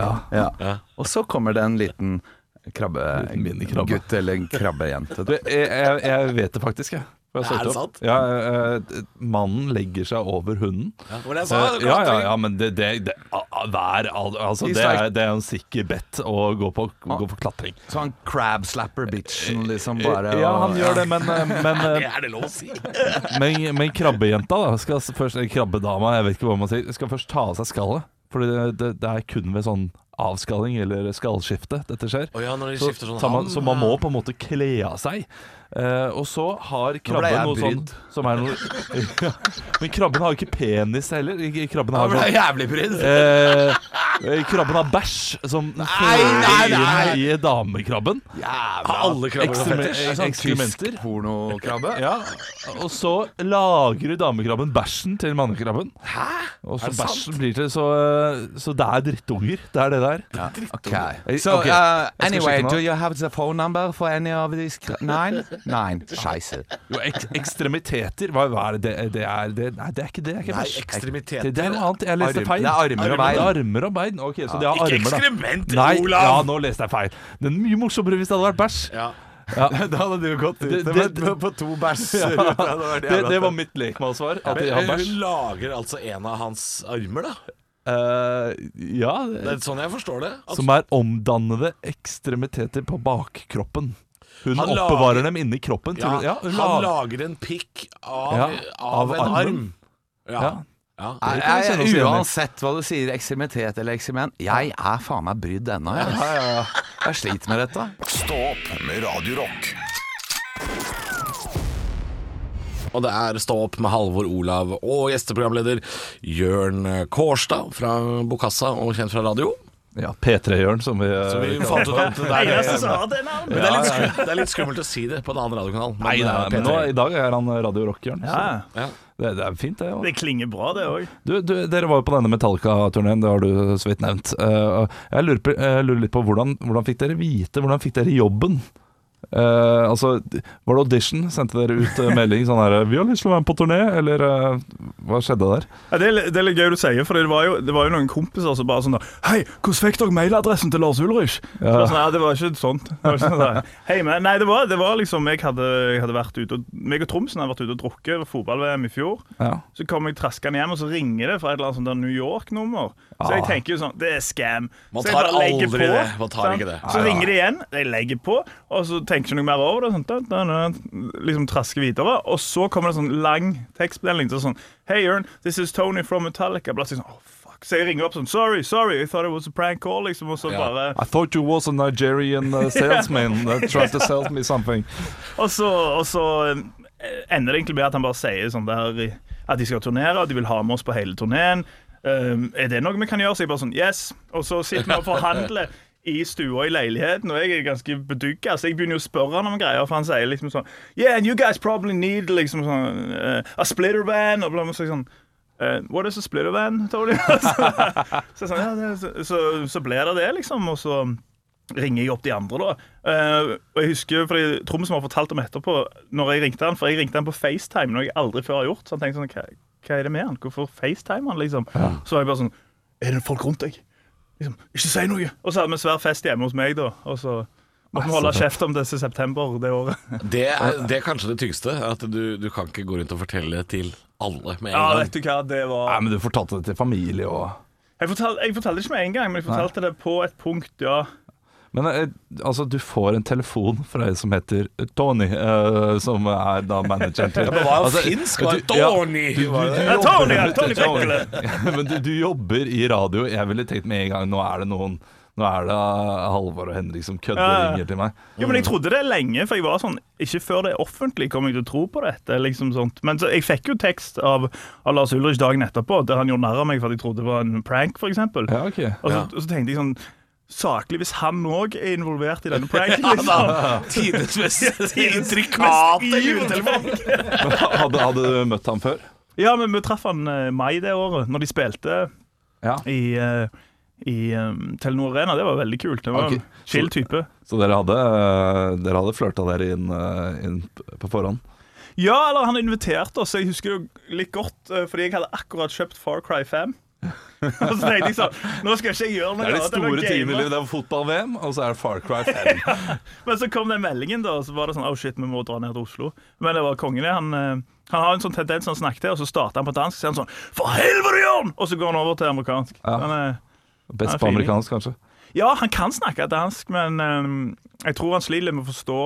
Speaker 8: Ja. ja. Og så kommer det en liten
Speaker 4: Liten minikrabbe.
Speaker 8: krabbegutt eller en krabbejente.
Speaker 4: Du, jeg, jeg, jeg vet det faktisk, jeg. For jeg har
Speaker 3: Er
Speaker 4: søkt
Speaker 3: det
Speaker 4: opp. Ja, eh, eh, mannen legger seg over hunden.
Speaker 3: Hvordan
Speaker 4: Eh, ja, ja, ja, men det, det, det, a- a- vær, al- altså,
Speaker 8: I
Speaker 4: det, er,
Speaker 8: sterk-
Speaker 4: det er en sikker bet å gå på, gå på klatring. Eh,
Speaker 8: Så han crab slapper bitchen liksom bare
Speaker 4: ja,
Speaker 8: og-
Speaker 4: han gjør det, men, eh, men, eh,
Speaker 3: Er det lov å si?
Speaker 4: men, men krabbejenta, da skal s- først, eller krabbedama, jeg vet ikke hva man sier, skal først ta av seg skallet. For det, det, det er kun ved sånn avskalling eller skallskifte dette skjer.
Speaker 3: Å ja, når de
Speaker 4: Så,
Speaker 3: skifter sånn
Speaker 4: tar man,
Speaker 3: hand.
Speaker 4: så man må på en måte kle av seg. Eh, og så har krabben
Speaker 8: jeg
Speaker 4: noe sånn
Speaker 8: brydd.
Speaker 4: som er noe Men krabben har jo ikke penis heller. Ikke- Krabben har
Speaker 8: Han ble
Speaker 4: sånn
Speaker 8: jævlig brydd.
Speaker 4: eh, eh, Krabben har bæsj som
Speaker 8: nei,
Speaker 4: fører
Speaker 8: nei.
Speaker 4: inn i damekrabben.
Speaker 8: Jævla
Speaker 3: Har alle krabber noe
Speaker 4: Ekstreme-
Speaker 3: fetisj?
Speaker 8: Det er sånn
Speaker 4: ekskrementer.
Speaker 8: tysk pornokrabbe.
Speaker 4: Ja, og så lagrer damekrabben bæsjen til mannekrabben. Hæ? Og så
Speaker 3: det sant?
Speaker 4: bæsjen blir til så, eh, så det er drittunger. Det er det der.
Speaker 8: Okay.
Speaker 4: Eh,
Speaker 8: So
Speaker 4: ok.
Speaker 8: uh,
Speaker 4: Jeg skal
Speaker 8: anyway,
Speaker 4: sjekke nå.
Speaker 8: do you have the phone number for any of these cra- Nein? Nein. Scheiße.
Speaker 4: Jo, ek ekstremiteter, hva, hva er det det er? Det, nei, det er ikke det. Det er ikke
Speaker 3: Nei,
Speaker 4: bæsj.
Speaker 3: ekstremiteter.
Speaker 4: Det, det er noe annet. Jeg leste
Speaker 8: Arm-
Speaker 4: feil.
Speaker 8: det er armer og bein.
Speaker 4: Det er armer og bein. Ok, så det er
Speaker 3: Ikke
Speaker 4: armer, da.
Speaker 3: ekskrementer,
Speaker 4: Nei,
Speaker 3: Olav!
Speaker 4: Ja, nå leste jeg feil. Det er mye morsommere hvis det hadde vært bæsj.
Speaker 3: Ja.
Speaker 8: da hadde du gått
Speaker 4: Det- det- det-
Speaker 8: på to bæsjer.
Speaker 4: Det, det var mitt lekmannssvar. At de har
Speaker 3: Men eh,
Speaker 4: bæsj.
Speaker 3: hun lager altså en av hans armer, da.
Speaker 4: Eh, ja
Speaker 3: Det er sånn jeg forstår det. At
Speaker 4: Som er omdannede ekstremiteter på bakkroppen. Hun
Speaker 3: Han lager-
Speaker 4: oppbevarer dem inni kroppen.
Speaker 3: ja,
Speaker 4: Til, ja, hun
Speaker 3: han
Speaker 4: lager-
Speaker 3: lager en pikk av,
Speaker 4: Ja,
Speaker 3: av,
Speaker 4: av
Speaker 3: en
Speaker 4: armen.
Speaker 3: arm. Ja.
Speaker 4: ja.
Speaker 3: ja.
Speaker 4: Det kan vi kjenne oss igjen i.
Speaker 8: Uansett hva du sier, ekstremitet eller eksperiment, jeg er faen meg brydd ennå. Jeg. altså. jeg sliter med dette.
Speaker 1: Stå opp med Radio Rock.
Speaker 3: Og det er Stå opp med Halvor Olav og gjesteprogramleder Jørn Kårstad fra Bokassa og kjent fra radio.
Speaker 4: ja P3-Jørn, som vi,
Speaker 3: Så vi
Speaker 4: eh,
Speaker 3: fant ut at det er det.
Speaker 9: det navnet.
Speaker 3: Men det er, litt skummelt, det er litt skummelt å si det på en annen radiokanal. eh,
Speaker 4: Nei, nei, nei, men nå, i dag er han Radio Rock-Jørn.
Speaker 10: Ja,
Speaker 4: så Det, det er fint, det. Ja.
Speaker 10: det klinger bra, det òg.
Speaker 4: Du, du, dere var jo på denne Metallica-turneen, det har du så vidt nevnt. Eh, jeg, lurer på, jeg lurer litt på hvordan, hvordan fikk dere vite, hvordan fikk dere jobben? Eh, altså, Var det audition? Sendte dere ut eh, melding sånn her 'Vi har lyst til å være med på turné', eller eh, hva skjedde der?
Speaker 10: Ja, det, er litt- det er litt gøy du sier, for det var jo, det var jo noen kompiser som bare sånn da, Hei, hvordan fikk dere mailadressen til Lars Ulrich? Så
Speaker 4: Ja.
Speaker 10: var det sånn, ja, det var ikke sånt. Det var ikke sånn der, Hei, men, nei, det var, det var liksom Jeg hadde, jeg hadde vært ute og, meg og Tromsen hadde vært ute og drukket ved fotball-VM i fjor.
Speaker 4: Ja.
Speaker 10: Så kom jeg traskende hjem, og så ringer det fra et eller annet sånt der New York-nummer. Så jeg
Speaker 4: Ah.
Speaker 10: tenker jo sånn Det er scam.
Speaker 3: Man
Speaker 10: så jeg
Speaker 3: tar
Speaker 10: bare legger
Speaker 3: aldri det. Man tar
Speaker 10: sant?
Speaker 3: ikke det.
Speaker 10: Så ringer de igjen, jeg legger på, og så tenker jeg ikke noe mer over det. Sånn, da, da, da, liksom trasker videre. Og så kommer det sånn lang tekstmelding. Så sånn Hey, Jørn, this is Tony from Metallica. Bla, så jeg sånn, «Åh, fuck. Så jeg ringer opp sånn Sorry, sorry, I thought it was a prank call, liksom. Og så
Speaker 3: Ja.
Speaker 10: bare
Speaker 4: I thought you was a Nigerian uh, salesman that tried to sell me something.
Speaker 10: Og så, og så eh, ender det egentlig med at han bare sier sånn der i- At de skal turnere, og de vil ha med oss på hele turneen. Um, er det noe vi kan gjøre? Så jeg bare sånn Yes! Og så sitter vi og forhandler i stua i leiligheten, og jeg er ganske bedugga, så jeg begynner jo å spørre han om greier, for han sier liksom sånn Yeah, and you guys probably need liksom sånn eh, a splitter van, og bla, bla, bla, så jeg sånn eh, what is a splitter van, Tony? så, så, jeg sånn, ja, det, så, så, så ble det det, liksom. Og så ringer jeg opp de andre, da. Eh, og jeg husker, fordi Tromsen har fortalt om etterpå, når jeg ringte han, for jeg ringte han på FaceTime, noe jeg aldri før har gjort. Så han tenkte sånn, hva, hva er det med han? Hvorfor FaceTime han, liksom? Så var jeg bare sånn, er det folk rundt deg? Liksom, ikke si noe! Og så hadde vi en svær fest hjemme hos meg, da. Og så måtte vi holde kjeft om det til september det året.
Speaker 3: Det er, det er kanskje det tyngste. At du, du kan ikke gå rundt og fortelle til alle med
Speaker 10: Ja,
Speaker 3: en gang.
Speaker 10: vet du hva, det var...
Speaker 4: Nei, men du fortalte det til familie og
Speaker 10: Jeg fortalte, jeg fortalte det ikke med en gang, men jeg fortalte det på et punkt, ja.
Speaker 4: Men eh, altså, du får en telefon fra en som heter Tony, eh, som er da manageren til Altså,
Speaker 3: Det var jo finsk, var det?
Speaker 4: du- ja,
Speaker 3: Tony! var det?
Speaker 10: Ja, Tony, ja, Tony Bekkele.
Speaker 4: Men du, du jobber i radio. Jeg ville tenkt med en gang Nå er det noen Nå er det eh, Halvor og Henrik som kødder og
Speaker 10: Ja, ja.
Speaker 4: ringer til meg.
Speaker 10: Jo, men jeg trodde det lenge, for jeg var sånn Ikke før det er offentlig kom jeg til å tro på dette. liksom sånt. Men så, jeg fikk jo tekst av, av Lars Ulrich dagen etterpå, der han gjorde narr av meg for at jeg trodde det var en prank, f.eks. Og,
Speaker 4: Ja, ok
Speaker 10: så- og så tenkte jeg sånn Saklig, hvis han òg er involvert i denne pranken, liksom.
Speaker 3: Tidenes mest
Speaker 10: Mest
Speaker 3: intrikate
Speaker 10: evil
Speaker 3: juletelefon.
Speaker 4: Men hadde, hadde du møtt ham før?
Speaker 10: Ja, men vi traff han eh, mai det året, når de spilte
Speaker 4: Ja.
Speaker 10: i, eh, i eh, Telenor Arena. Det var veldig kult. Det var
Speaker 4: Ok.
Speaker 10: en chill type.
Speaker 4: Så dere hadde, eh, dere hadde flørta dere inn, eh, inn p- på forhånd?
Speaker 10: Ja, eller han inviterte oss. Jeg husker jo litt godt, eh, fordi jeg hadde akkurat kjøpt Far Cry 5. og så tenkte jeg sånn Nå skal ikke jeg gjøre noe
Speaker 4: Det er de
Speaker 10: annet enn å
Speaker 4: store
Speaker 10: game.
Speaker 4: tingene i livet. Det er fotball-VM, og så er det Far Cry 5.
Speaker 10: Men så kom den meldingen, da, og så var det sånn Oh shit, vi må dra ned til Oslo. Men det var kongen, det. Han, eh, han har en sånn tendens han snakker til, og så starter han på dansk, så er han sånn For helvete, Jørn! Og så går han over til amerikansk.
Speaker 4: Ja.
Speaker 10: Han, eh,
Speaker 4: Best på
Speaker 10: Nei, fint.
Speaker 4: amerikansk, kanskje.
Speaker 10: ja, han kan snakke dansk, men eh, jeg tror han sliter litt med å forstå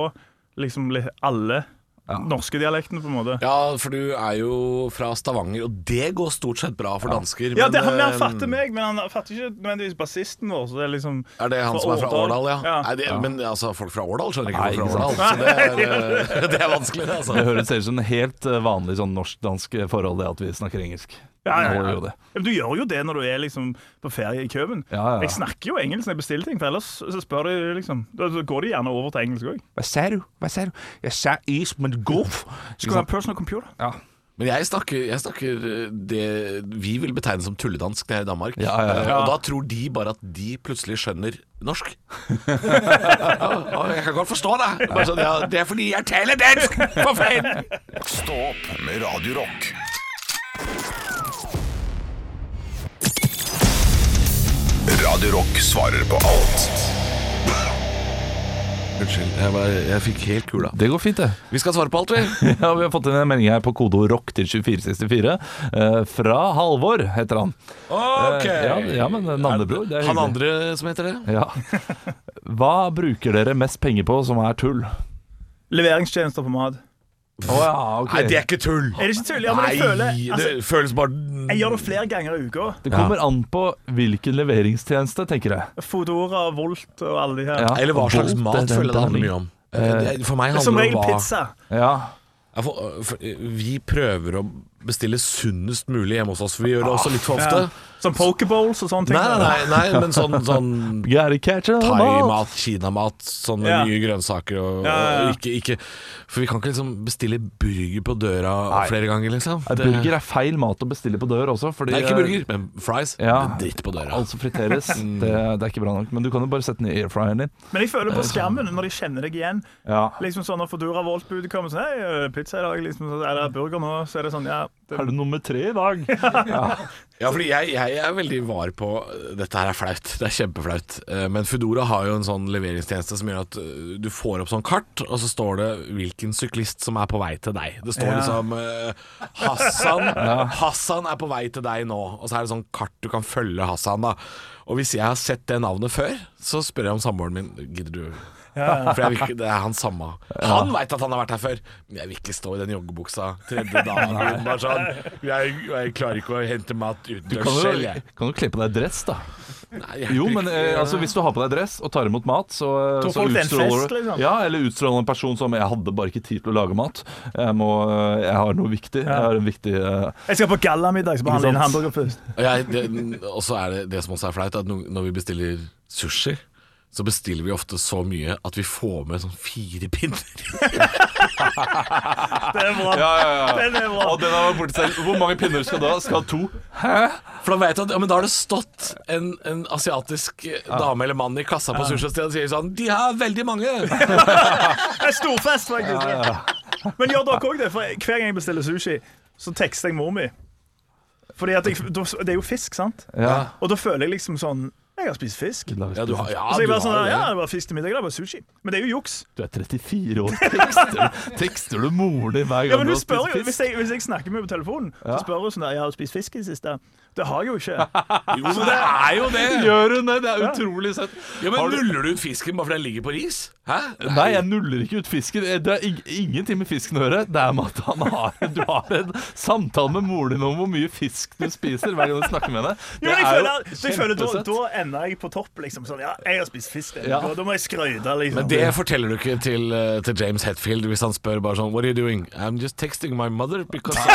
Speaker 10: liksom litt alle
Speaker 4: Ja.
Speaker 10: norske dialektene, på en måte.
Speaker 3: Ja, for du er jo fra Stavanger, og det går stort sett bra for dansker.
Speaker 10: Ja, det, han, han
Speaker 3: eh,
Speaker 10: fatter meg, men han fatter ikke nødvendigvis bassisten vår. Så det er liksom
Speaker 3: Er det han
Speaker 10: Fra
Speaker 3: som er fra
Speaker 10: Årdal.
Speaker 3: Årdal, ja?
Speaker 10: Ja.
Speaker 3: Nei, det, men altså, folk fra Årdal skjønner ikke
Speaker 4: Nei,
Speaker 3: folk fra
Speaker 4: ikke
Speaker 3: Årdal. Så det er, eh, det er vanskelig, det,
Speaker 4: Det
Speaker 3: altså.
Speaker 4: høres ut som en helt eh, vanlig sånn norsk-dansk forhold, det at vi snakker engelsk.
Speaker 10: Ja, ja, ja.
Speaker 4: Nå gjør jo det.
Speaker 10: Ja, men Du gjør jo det når du er liksom på ferie i Køben.
Speaker 4: Ja, ja, ja.
Speaker 10: Jeg snakker jo engelsk når jeg bestiller ting, for ellers så spør de liksom Da da går de gjerne over til engelsk òg.
Speaker 4: Hva sa du? Hva sa du? Jeg sa is, men golf.
Speaker 10: Skal du ha en personal computer?
Speaker 4: Ja,
Speaker 3: Men jeg snakker, jeg snakker eh, det vi vil betegne som tulledansk nede i Danmark.
Speaker 4: Ja, ja, ja.
Speaker 3: Eh, Og da tror de bare at de plutselig skjønner norsk. Ja, og jeg kan godt forstå det. Bare sånn, ja, det er fordi jeg taler dansk, for faen!
Speaker 1: Stå opp med Radio Rock. Radio Rock svarer på alt.
Speaker 3: Unnskyld, jeg, bare, jeg fikk helt kula.
Speaker 4: det går fint, det.
Speaker 3: Vi skal svare på alt, vi.
Speaker 4: Ja, Vi har fått inn en melding her på kodeord rock til 2464. eh, fra Halvor, heter han.
Speaker 3: Ok.
Speaker 4: Eh, ja, ja, men navnebror, det er
Speaker 3: Han
Speaker 4: hyggelig.
Speaker 3: andre som heter det?
Speaker 4: Ja. Hva bruker dere mest penger på som er tull?
Speaker 10: Leveringstjenester på mat.
Speaker 4: Å ja, ok.
Speaker 3: Nei, det er ikke tull!
Speaker 10: Er det ikke tull? Ja, men jeg føler altså,
Speaker 3: det føles bare
Speaker 10: Jeg gjør det flere ganger i uka.
Speaker 4: Det kommer an på hvilken leveringstjeneste, tenker jeg.
Speaker 10: Fodora, Volt og alle de her.
Speaker 4: Ja.
Speaker 3: Eller hva
Speaker 4: Og
Speaker 3: slags
Speaker 4: Bolt,
Speaker 3: mat
Speaker 4: det er
Speaker 3: føler jeg det handler
Speaker 4: terning.
Speaker 3: mye om. Eh, det- For meg handler
Speaker 10: Som
Speaker 3: det
Speaker 10: regel
Speaker 3: om hva
Speaker 10: pizza.
Speaker 4: Ja.
Speaker 3: Ja, for, eh, for, Vi prøver å bestille sunnest mulig hjemme hos oss. Vi gjør det også litt for ofte.
Speaker 10: Ja. Som pokeballs og sånne ting.
Speaker 3: Nei, nei, nei, nei men sånn, sånn
Speaker 4: Gotta catch it all.
Speaker 3: thaimat, kinamat, sånn med
Speaker 10: Ja.
Speaker 3: mye grønnsaker og,
Speaker 10: Ja, ja, ja.
Speaker 3: og ikke, ikke For vi kan ikke liksom bestille burger på døra flere ganger, liksom.
Speaker 4: Nei, Burger er feil mat å bestille på dør også. Fordi, eh,
Speaker 3: Nei, ikke burger, men fries.
Speaker 4: Ja.
Speaker 3: Dritt på døra. Mm.
Speaker 4: Alt som friteres, det, det er ikke bra nok. Men du kan jo bare sette den i airfryeren din.
Speaker 10: Men jeg føler på
Speaker 3: sånn.
Speaker 10: skammen når de kjenner deg igjen.
Speaker 4: Ja.
Speaker 10: Liksom sånn Når Fodora Volt-budet kommer sånn Hei, pizza i dag, liksom. så Er det burger nå? Så er det sånn, ja. Det,
Speaker 4: Er du nummer tre i dag?
Speaker 3: Ja, fordi jeg, jeg er veldig var på Dette her er flaut, det er kjempeflaut Eh, Men Foodora har jo en sånn leveringstjeneste Som gjør at eh, du får opp sånn kart Og så står det hvilken syklist som er på vei til deg Det står
Speaker 10: Ja.
Speaker 3: liksom eh, Hassan, Hassan er på vei til deg nå Og så er det sånn kart du kan følge Hassan da Og hvis jeg har sett det navnet før Så spør jeg om samboeren min Gidder du? For jeg vil ikke, det er han samme Han vet at han har vært her før Men jeg vil ikke stå i den joggebuksa Tredje dagen Bare sånn jeg, jeg klarer ikke å hente mat
Speaker 4: Du kan
Speaker 3: utendørs
Speaker 4: jo,
Speaker 3: selv jeg.
Speaker 4: kan jo kle på deg dress, da.
Speaker 3: Nei, jeg
Speaker 4: Jo,
Speaker 3: bruker
Speaker 4: men eh,
Speaker 3: ikke-
Speaker 4: altså, hvis du har på deg dress og tar imot mat, så, eh,
Speaker 10: Tror
Speaker 4: så
Speaker 10: folk det er en fest,
Speaker 4: du
Speaker 10: liksom.
Speaker 4: Ja, eller utstråler en person som 'Jeg hadde bare ikke tid til å lage mat. Jeg, må, eh, jeg har noe viktig. Jeg har en viktig eh,
Speaker 10: Jeg skal på gallamiddag, så behandler jeg en
Speaker 4: sant?
Speaker 10: hamburger først.
Speaker 3: Og jeg, det, og så er det det som også er flaut, at no- når vi bestiller sushi så bestiller vi ofte så mye at vi får med sånn fire pinner.
Speaker 10: Det er bra.
Speaker 4: Ja, ja, ja.
Speaker 10: Den er bra.
Speaker 4: Og den har vært borte selv. Hvor mange pinner skal du ha? Skal du ha to?
Speaker 3: For da vet du at ja, men da har det stått en, en asiatisk eh, dame eller mann i kassa på sushistedet og sier sånn De har veldig mange!
Speaker 10: Det er storfest, faktisk. Men gjør dere òg det? For hver gang jeg bestiller sushi, så tekster jeg mor mi. Fordi at jeg, da- Det er jo fisk, sant?
Speaker 4: Ja.
Speaker 10: Og da føler jeg liksom sånn Jeg har spist fisk. Og
Speaker 3: Ja, du har, ja,
Speaker 10: så jeg
Speaker 3: du
Speaker 10: bare sånn,
Speaker 3: har
Speaker 10: ja,
Speaker 3: det.
Speaker 10: det var fisk til middag, det var sushi. Men det er jo juks.
Speaker 4: Du er 34 år. Tekster, tekster du moren din hver gang
Speaker 10: Ja, men
Speaker 4: du
Speaker 10: hun
Speaker 4: har
Speaker 10: spør jo,
Speaker 4: spist
Speaker 10: hvis
Speaker 4: fisk?
Speaker 10: jeg, hvis jeg snakker med henne på telefonen, så spør hun sånn der, jeg har du spist fisk i det siste. Det har jeg jo ikke.
Speaker 3: Jo, men det er jo det!
Speaker 4: Gjør hun det? Det er utrolig søtt.
Speaker 3: Ja,
Speaker 4: Har
Speaker 3: men
Speaker 4: du-
Speaker 3: Nuller du ut fisken bare fordi den ligger på ris? Hæ?
Speaker 4: Nei, jeg nuller ikke ut fisken. Det har ing- ingenting med fisken å gjøre. Det er med at han har, du har en samtale med moren din om hvor mye fisk du spiser hver gang du snakker med henne.
Speaker 10: Jo, men jeg
Speaker 4: er
Speaker 10: føler, jeg føler da,
Speaker 4: kjempesøtt.
Speaker 10: da ender jeg på topp, liksom. Sånn, ja, jeg har spist fisk.
Speaker 4: Ja.
Speaker 10: Da, da må jeg skryte, liksom.
Speaker 3: Men det forteller du ikke til, eh, til James Hetfield hvis han spør bare sånn What are you doing? I'm just texting my mother because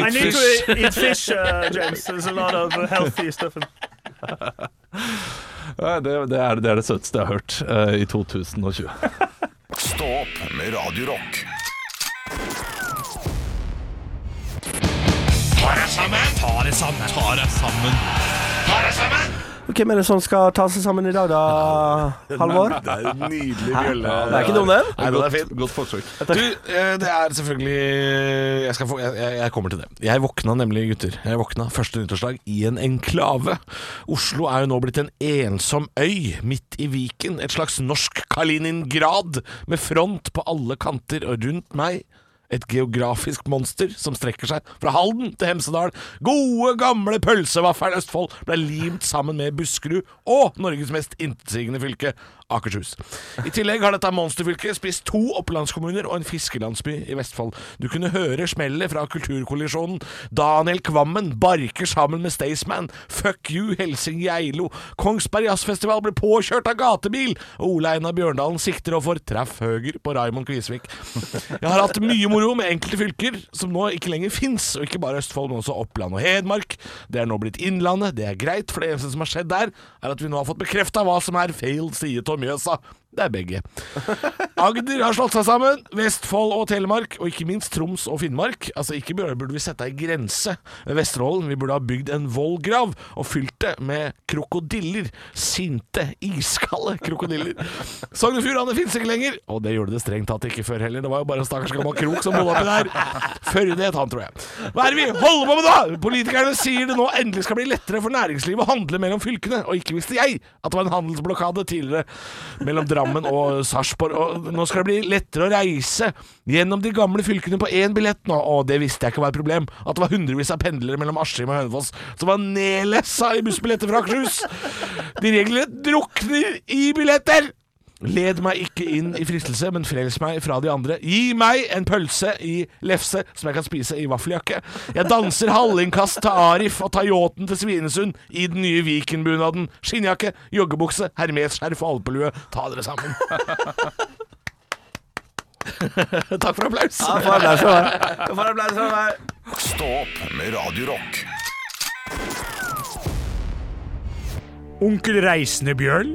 Speaker 10: I
Speaker 3: ate
Speaker 10: need
Speaker 3: uh, fish.
Speaker 10: to eat fish, uh, James. There's a lot of healthy stuff.
Speaker 4: Ja, det, det, er, det er det søteste jeg har hørt eh, i 2020.
Speaker 1: Stå opp med Radio Rock.
Speaker 6: Hvem er det som sånn skal ta seg sammen i dag, da, Halvor?
Speaker 3: Det er en nydelig bjølle.
Speaker 6: Det er ikke dum, den.
Speaker 3: Nei, den er fin.
Speaker 4: Godt forsøk.
Speaker 3: Du, eh, det er selvfølgelig eh, jeg, skal få, jeg, jeg jeg kommer til det. Jeg våkna nemlig, gutter. Jeg våkna første nyttårsdag i en enklave. Oslo er jo nå blitt en ensom øy midt i Viken. Et slags norsk Kaliningrad med front på alle kanter og rundt meg. Et geografisk monster som strekker seg fra Halden til Hemsedal. Gode, gamle pølsevaffel Østfold ble limt sammen med Buskerud og Norges mest intetsigende fylke, Akershus. I tillegg har dette monsterfylket spist to opplandskommuner og en fiskelandsby i Vestfold. Du kunne høre smellet fra kulturkollisjonen. Daniel Kvammen barker sammen med Staysman. Fuck you, Helsing Geilo. Kongsberg Jazzfestival ble påkjørt av gatebil. Og Ole Einar Bjørndalen sikter og får treff høger på Raymond Kvisvik. Jeg har hatt mye moro med enkelte fylker som nå ikke lenger fins, og ikke bare Østfold, men også Oppland og Hedmark. Det er nå blitt Innlandet, det er greit, for det eneste som har skjedd der, er at vi nå har fått bekrefta hva som er feil side av Mjøsa. Det er begge. Agder har slått seg sammen, Vestfold og Telemark, og ikke minst Troms og Finnmark. Altså, ikke bare burde vi sette ei grense ved Vesterålen, vi burde ha bygd en vollgrav og fylt det med krokodiller. Sinte, iskalde krokodiller. Sogn og Fjordane fins ikke lenger, og det gjorde det strengt tatt ikke før heller. Det var jo bare en stakkars gammel krok som bodde oppi der. Førde het han, tror jeg. Hva er det vi holder på med da? Politikerne sier det nå endelig skal bli lettere for næringslivet å handle mellom fylkene, og ikke visste jeg at det var en handelsblokade tidligere mellom Drammen og Sarpsborg. Og nå skal det bli lettere å reise gjennom de gamle fylkene på én billett nå, og det visste jeg ikke var et problem. At det var hundrevis av pendlere mellom Askim og Hønefoss som var nedlessa i bussbilletter fra Akershus. De regelrett drukner i billetter! Led meg ikke inn i fristelse, men frels meg fra de andre. Gi meg en pølse i lefse som jeg kan spise i vaffeljakke. Jeg danser hallingkast til Arif og tar yachten til Svinesund i den nye Vikenbunaden. Skinnjakke, joggebukse, hermesskjerf og alpelue. Ta dere sammen. Takk for applaus.
Speaker 6: Ja, få applaus for meg. Få applaus for meg.
Speaker 1: Stå opp med Radio Rock.
Speaker 11: Onkel Reisende Bjørn.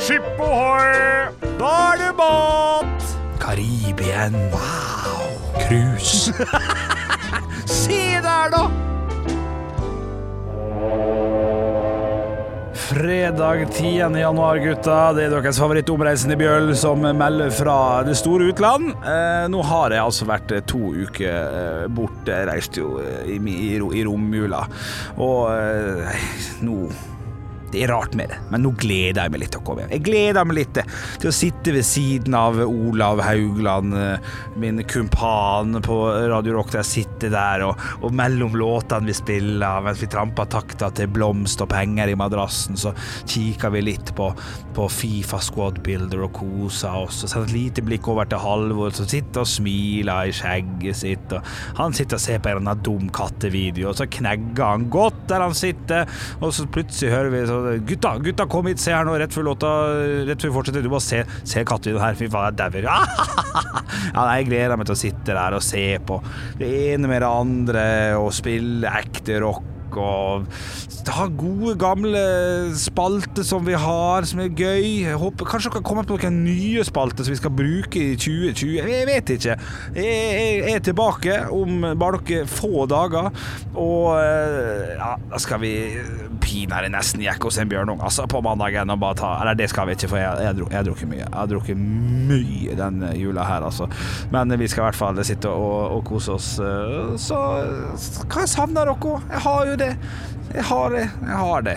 Speaker 11: Skip ohoi! Da er det båt! Karibien. Wow! Cruise. Se der, da! Fredag 10. januar, gutta. Det er deres favorittomreisende Bjørn som melder fra det store utland. Eh, nå har jeg altså vært eh, to uker eh, borte. Jeg reiste jo eh, i, mi- i, ro- i romjula. Og eh, nå det er rart med det, men nå gleder jeg meg litt til å komme hjem. Jeg gleder meg litt til til å sitte ved siden av Olav Haugland, eh, min kumpan på Radio Rock, der jeg sitter der, og, og mellom låtene vi spiller, mens vi tramper takta til blomst og penger i madrassen, så kikker vi litt på, på Fifa Squad Builder og koser oss, og sender et lite blikk over til Halvor, som sitter og smiler i skjegget sitt, og han sitter og ser på en eller annen dum kattevideo, og så knegger han godt der han sitter, og så plutselig hører vi så, Gutta, gutta, kom hit, se her nå, rett før låta Rett før vi fortsetter. Du bare se, se kattevideoen her, fy faen, jeg dauer. Ja, nei, jeg gleder meg til å sitte der og se på det ene med det andre og spille ekte rock. musikk og ha gode, gamle spalter som vi har, som er gøy. Jeg håper, kanskje dere kommer på noen nye spalter som vi skal bruke i 2020. Jeg vet ikke. Jeg, jeg er tilbake om bare noen få dager, og eh, ja, da skal vi pinadø nesten jekke oss en bjørn altså, på mandagen. Og bare ta, eller det skal vi ikke, for jeg, jeg, dro, jeg har drukket mye. Jeg har drukket mye denne jula her, altså. Men vi skal i hvert fall sitte og, og kose oss. eh, Så hva jeg savner dere? Jeg har jo det. Jeg har det. Jeg har det.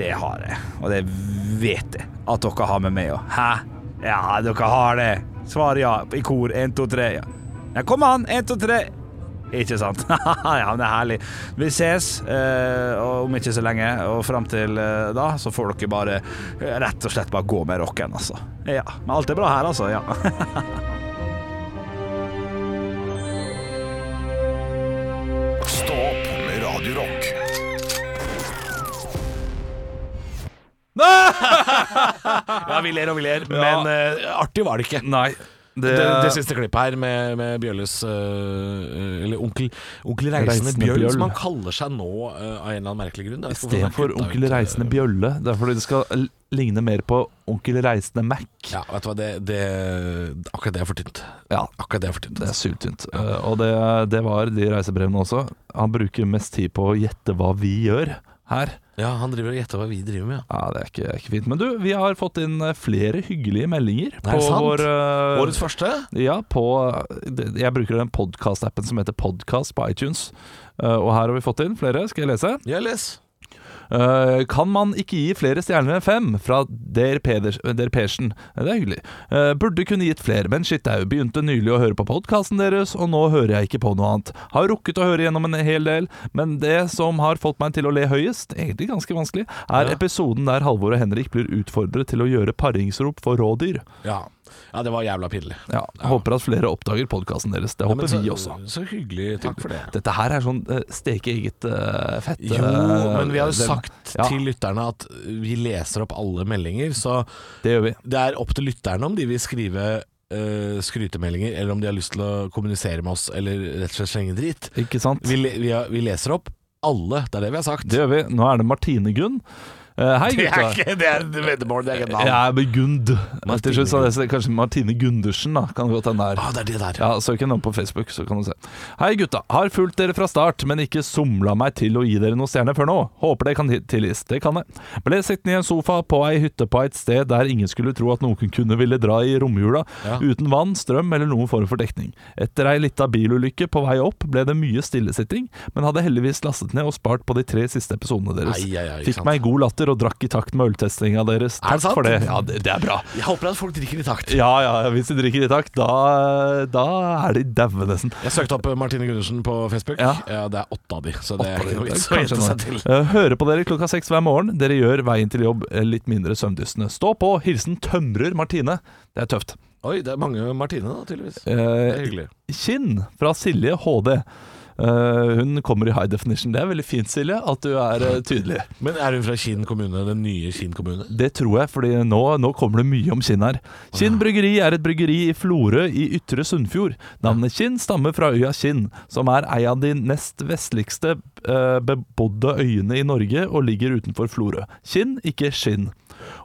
Speaker 11: Det har jeg, og det vet jeg at dere har med meg òg. Hæ? Ja, dere har det. Svar ja i kor. Én, to, tre. Ja. ja, kom an. Én, to, tre. Ikke sant? ja, men det er herlig. Vi ses eh, og om ikke så lenge, og fram til eh, da så får dere bare eh, rett og slett bare gå med rocken, altså. Ja. Men alt er bra her, altså. Ja.
Speaker 1: Stå opp med Radio Rock.
Speaker 3: Ja, vi ler og vi ler, men eh, artig var det ikke.
Speaker 4: Nei. Det,
Speaker 3: Det, det siste klippet her med, med Bjølles øh, Eller onkel, onkel Reisende,
Speaker 4: Reisende
Speaker 3: Bjøll,
Speaker 4: Bjøll.
Speaker 3: som han kaller seg nå øh, av en eller annen merkelig grunn.
Speaker 4: I stedet for Onkel Reisende Bjølle. Det er fordi det skal l- ligne mer på Onkel Reisende Mac.
Speaker 3: Ja, vet du hva, det, det, akkurat det er for tynt.
Speaker 4: Ja.
Speaker 3: Akkurat det er for tynt.
Speaker 4: Det er syltynt. Eh, og det, det var de reisebrevene også. Han bruker mest tid på å gjette hva vi gjør her.
Speaker 3: Ja, han driver og gjetter hva vi driver med. Ja.
Speaker 4: Ja, Det er ikke, ikke fint. Men du, vi har fått inn eh, flere hyggelige meldinger
Speaker 3: Er det sant?
Speaker 4: eh,
Speaker 3: Årets første?
Speaker 4: Ja, på det- Jeg bruker den podkast-appen som heter Podkast på iTunes. Eh, og her har vi fått inn flere. Skal jeg lese?
Speaker 3: Ja, les.
Speaker 4: Eh, kan man ikke gi flere stjerner enn fem? Fra Der, Peders, der Persen. Det er hyggelig. Eh, burde kunne gitt flere, men shit, jeg begynte nylig å høre på podkasten deres, og nå hører jeg ikke på noe annet. Har rukket å høre gjennom en hel del, men det som har fått meg til å le høyest, egentlig ganske vanskelig, er episoden der Halvor og Henrik blir utfordret til å gjøre paringsrop for rådyr.
Speaker 3: Ja. ja, det var jævla pinlig.
Speaker 4: Ja, Håper at flere oppdager podkasten deres. Det
Speaker 3: Ja,
Speaker 4: håper
Speaker 3: men så,
Speaker 4: vi også.
Speaker 3: Så hyggelig. Takk for det.
Speaker 4: Dette her er sånn eh, steke eget eh, fett.
Speaker 3: Jo,
Speaker 4: eh,
Speaker 3: men vi har jo
Speaker 4: del.
Speaker 3: sagt
Speaker 4: Ja.
Speaker 3: til lytterne at vi leser opp alle meldinger, så
Speaker 4: Det gjør vi.
Speaker 3: Det er opp til lytterne om de vil skrive eh, skrytemeldinger, eller om de har lyst til å kommunisere med oss, eller rett og slett slenge dritt.
Speaker 4: Ikke sant?
Speaker 3: Vi, le- vi, har- vi leser opp alle, det er det vi har sagt.
Speaker 4: Det gjør vi. Nå er det Martine Gunn. Eh, hei,
Speaker 3: Det er
Speaker 4: gutta.
Speaker 3: ikke det er et veddemål, det er ikke et navn.
Speaker 4: Jeg er med Gund.
Speaker 3: Martine
Speaker 4: Til slutt så leser jeg kanskje Martine Gundersen, da. Kan det godt hende det
Speaker 3: Ah,
Speaker 4: er.
Speaker 3: det er det der.
Speaker 4: Ja, Søk henne opp på Facebook, så kan du se. Hei, gutta. Har fulgt dere fra start, men ikke somla meg til å gi dere noen stjerne før nå. Håper det kan til- tilgis. Det kan jeg. Ble sittende i en sofa på ei hytte på et sted der ingen skulle tro at noen kunne ville dra i romjula,
Speaker 3: Ja.
Speaker 4: uten vann, strøm eller noen form for dekning. Etter ei lita bilulykke på vei opp ble det mye stillesitting, men hadde heldigvis lastet ned og spart på de tre siste episodene deres.
Speaker 3: Ai, ai, ai, ikke
Speaker 4: Fikk
Speaker 3: sant.
Speaker 4: meg god latter og drakk i takt med øltestinga deres.
Speaker 3: Er
Speaker 4: Takk
Speaker 3: det sant?
Speaker 4: for det. Ja, det, det er bra.
Speaker 3: Jeg håper at folk drikker i takt.
Speaker 4: Ja, ja, ja, hvis de drikker i takt, da, da er de daue, nesten.
Speaker 3: Jeg søkte opp eh, Martine Gundersen på Facebook.
Speaker 4: Ja.
Speaker 3: det er åtte av de, så det er ikke noe vits å
Speaker 4: Kanskje
Speaker 3: gjette
Speaker 4: nå.
Speaker 3: seg til.
Speaker 4: Eh, Hører på dere klokka seks hver morgen. Dere gjør veien til jobb eh, litt mindre søvndystende. Stå på! Hilsen tømrer Martine. Det er tøft.
Speaker 3: Oi, det er mange Martine, da, tydeligvis. Det er
Speaker 4: Eh,
Speaker 3: hyggelig.
Speaker 4: Kinn fra Silje HD. Eh, hun kommer i high definition. Det er veldig fint, Silje, at du er eh, tydelig.
Speaker 3: Men er hun fra Kinn kommune, den nye Kinn kommune?
Speaker 4: Det tror jeg, fordi nå, nå kommer det mye om Kinn her. Kinn bryggeri er et bryggeri i Florø i Ytre Sunnfjord. Navnet Kinn stammer fra øya Kinn, som er ei av de nest vestligste eh, bebodde øyene i Norge og ligger utenfor Florø. Kinn, ikke skinn.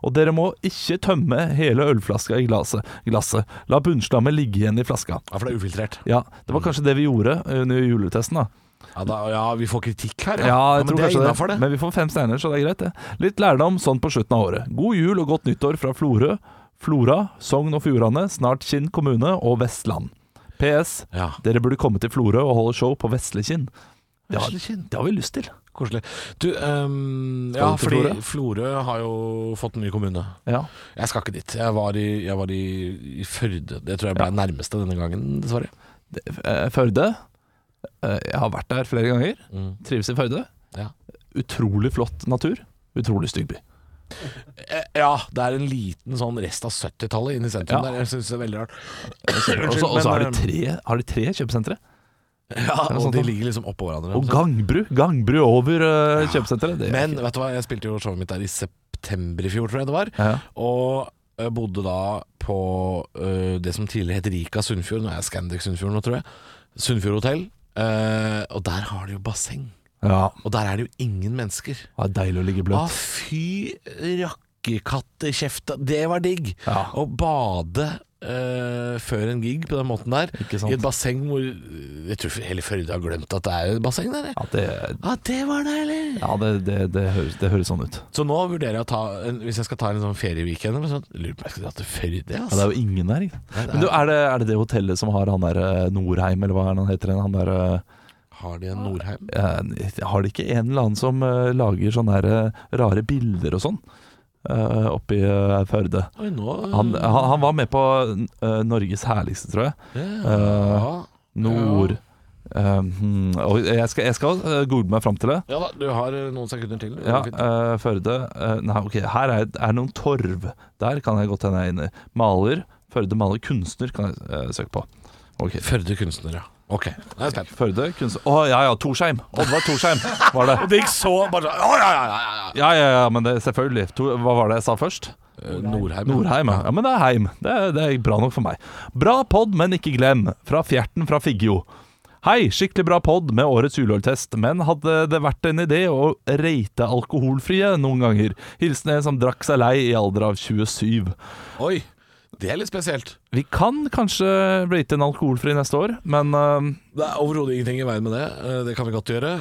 Speaker 4: Og dere må ikke tømme hele ølflaska i glasset. glasset. La bunnslammet ligge igjen i flaska.
Speaker 3: Ja, for det er ufiltrert.
Speaker 4: Ja, det var kanskje det vi gjorde eh, under juletesten, da.
Speaker 3: Ja, da, ja vi får kritikk her,
Speaker 4: Ja, jeg
Speaker 3: men
Speaker 4: tror
Speaker 3: det er
Speaker 4: kanskje det,
Speaker 3: innafor, det.
Speaker 4: Men vi får fem stjerner, så det er greit, det. Litt lærdom sånn på slutten av året. God jul og godt nyttår fra Florø, Flora, Sogn og Fjordane, snart Kinn kommune og Vestland. PS.
Speaker 3: Ja.
Speaker 4: Dere burde komme til Florø og holde show på Vesle Kinn. Det har,
Speaker 3: Vesle Kinn?
Speaker 4: det har vi lyst til.
Speaker 3: Koselig. Du, ehm,
Speaker 4: Skal
Speaker 3: ja,
Speaker 4: du til
Speaker 3: fordi
Speaker 4: Florø?
Speaker 3: Florø har jo fått en ny kommune.
Speaker 4: Ja.
Speaker 3: Jeg skal ikke dit. Jeg var i, jeg var i, i Førde. Det tror jeg ble nærmeste denne gangen, dessverre.
Speaker 4: Eh, Førde. Eh, Jeg har vært der flere ganger.
Speaker 3: Mm.
Speaker 4: Trives i Førde.
Speaker 3: Ja.
Speaker 4: Utrolig flott natur. Utrolig stygg by.
Speaker 3: Eh, Ja, det er en liten sånn rest av 70-tallet inne i sentrum
Speaker 4: Ja.
Speaker 3: der. Jeg syns det er veldig rart.
Speaker 4: Og så- Og så har de tre, har de tre kjøpesentre.
Speaker 3: Ja,
Speaker 4: det er
Speaker 3: og
Speaker 4: sant,
Speaker 3: de
Speaker 4: da.
Speaker 3: ligger liksom oppå hverandre.
Speaker 4: Og gangbru. Gangbru over eh, kjøpesenteret. Det er
Speaker 3: Men
Speaker 4: ikke-
Speaker 3: vet du hva, jeg spilte jo showet mitt der i september i fjor, tror jeg det var.
Speaker 4: ja.
Speaker 3: Og jeg bodde da på øh, det som tidligere het Rika Sunnfjord. Nå er jeg Scandic Sunnfjord nå, tror jeg. Sunnfjord hotell. Eh, og der har de jo basseng.
Speaker 4: Ja,
Speaker 3: Og der er det jo ingen mennesker.
Speaker 4: det er deilig å ligge
Speaker 3: Å,
Speaker 4: bløt.
Speaker 3: fy rakkekattekjefta. Det var digg!
Speaker 4: Ja.
Speaker 3: Å bade eh, før en gig på den måten der,
Speaker 4: Ikke sant?
Speaker 3: i et basseng hvor Jeg tror hele Førde har glemt at det er et basseng der. jeg.
Speaker 4: Ja, det,
Speaker 3: Ja, det var deilig!
Speaker 4: ja, det, det, det, høres, det høres sånn ut.
Speaker 3: Så nå vurderer jeg å ta en, Hvis jeg skal ta en sånn ferieweekend eller sånt, lurer på om jeg skal dra til Førde.
Speaker 4: Ja, det
Speaker 3: Altså.
Speaker 4: er jo ingen der. Ikke?
Speaker 3: Nei, det er-
Speaker 4: Men du, er, det, er det det hotellet som har han der eh, Norheim, eller hva er det han heter? Han der,
Speaker 3: Har de en Norheim?
Speaker 4: eh, eh, har de ikke en eller annen som eh, lager sånne der, eh, rare bilder og sånn eh, oppi eh, Førde?
Speaker 3: Oi, nå eh,
Speaker 4: Han, han, han var med på eh, Norges herligste, tror jeg.
Speaker 3: ja.
Speaker 4: Nord Eh, hmm, og jeg skal, jeg skal eh, google meg fram til det.
Speaker 3: ja da, du har eh, noen sekunder til.
Speaker 4: Ja,
Speaker 3: Fint.
Speaker 4: eh, Førde eh, Nei, ok, her er, er noen torv. Der kan jeg godt hende jeg er inne. Maler. Førde maler kunstner kan jeg eh, søke på. Ok.
Speaker 3: Førde kunstner, ja. Ok, jeg er spent.
Speaker 4: Førde kunstner Å ja ja, Torsheim! Oddvar Torsheim var det.
Speaker 3: Det gikk så bare sånn ja, ja, ja, ja.
Speaker 4: Ja ja ja, men det, selvfølgelig. To, hva var det jeg sa først?
Speaker 3: Eh, Norheim.
Speaker 4: Norheim, ja. ja. Men det er heim. Det, er- det er bra nok for meg. Bra pod, men ikke glem. Fra Fjerten fra Figgjo. Hei, skikkelig bra pod med årets ulovtest, men hadde det vært en idé å rate alkoholfrie noen ganger? Hilsen en som drakk seg lei i alder av 27.
Speaker 3: Oi, det er litt spesielt.
Speaker 4: Vi kan kanskje rate en alkoholfri neste år, men eh, øhm,
Speaker 3: Det er overhodet ingenting i veien med det. Eh, Det kan vi godt gjøre.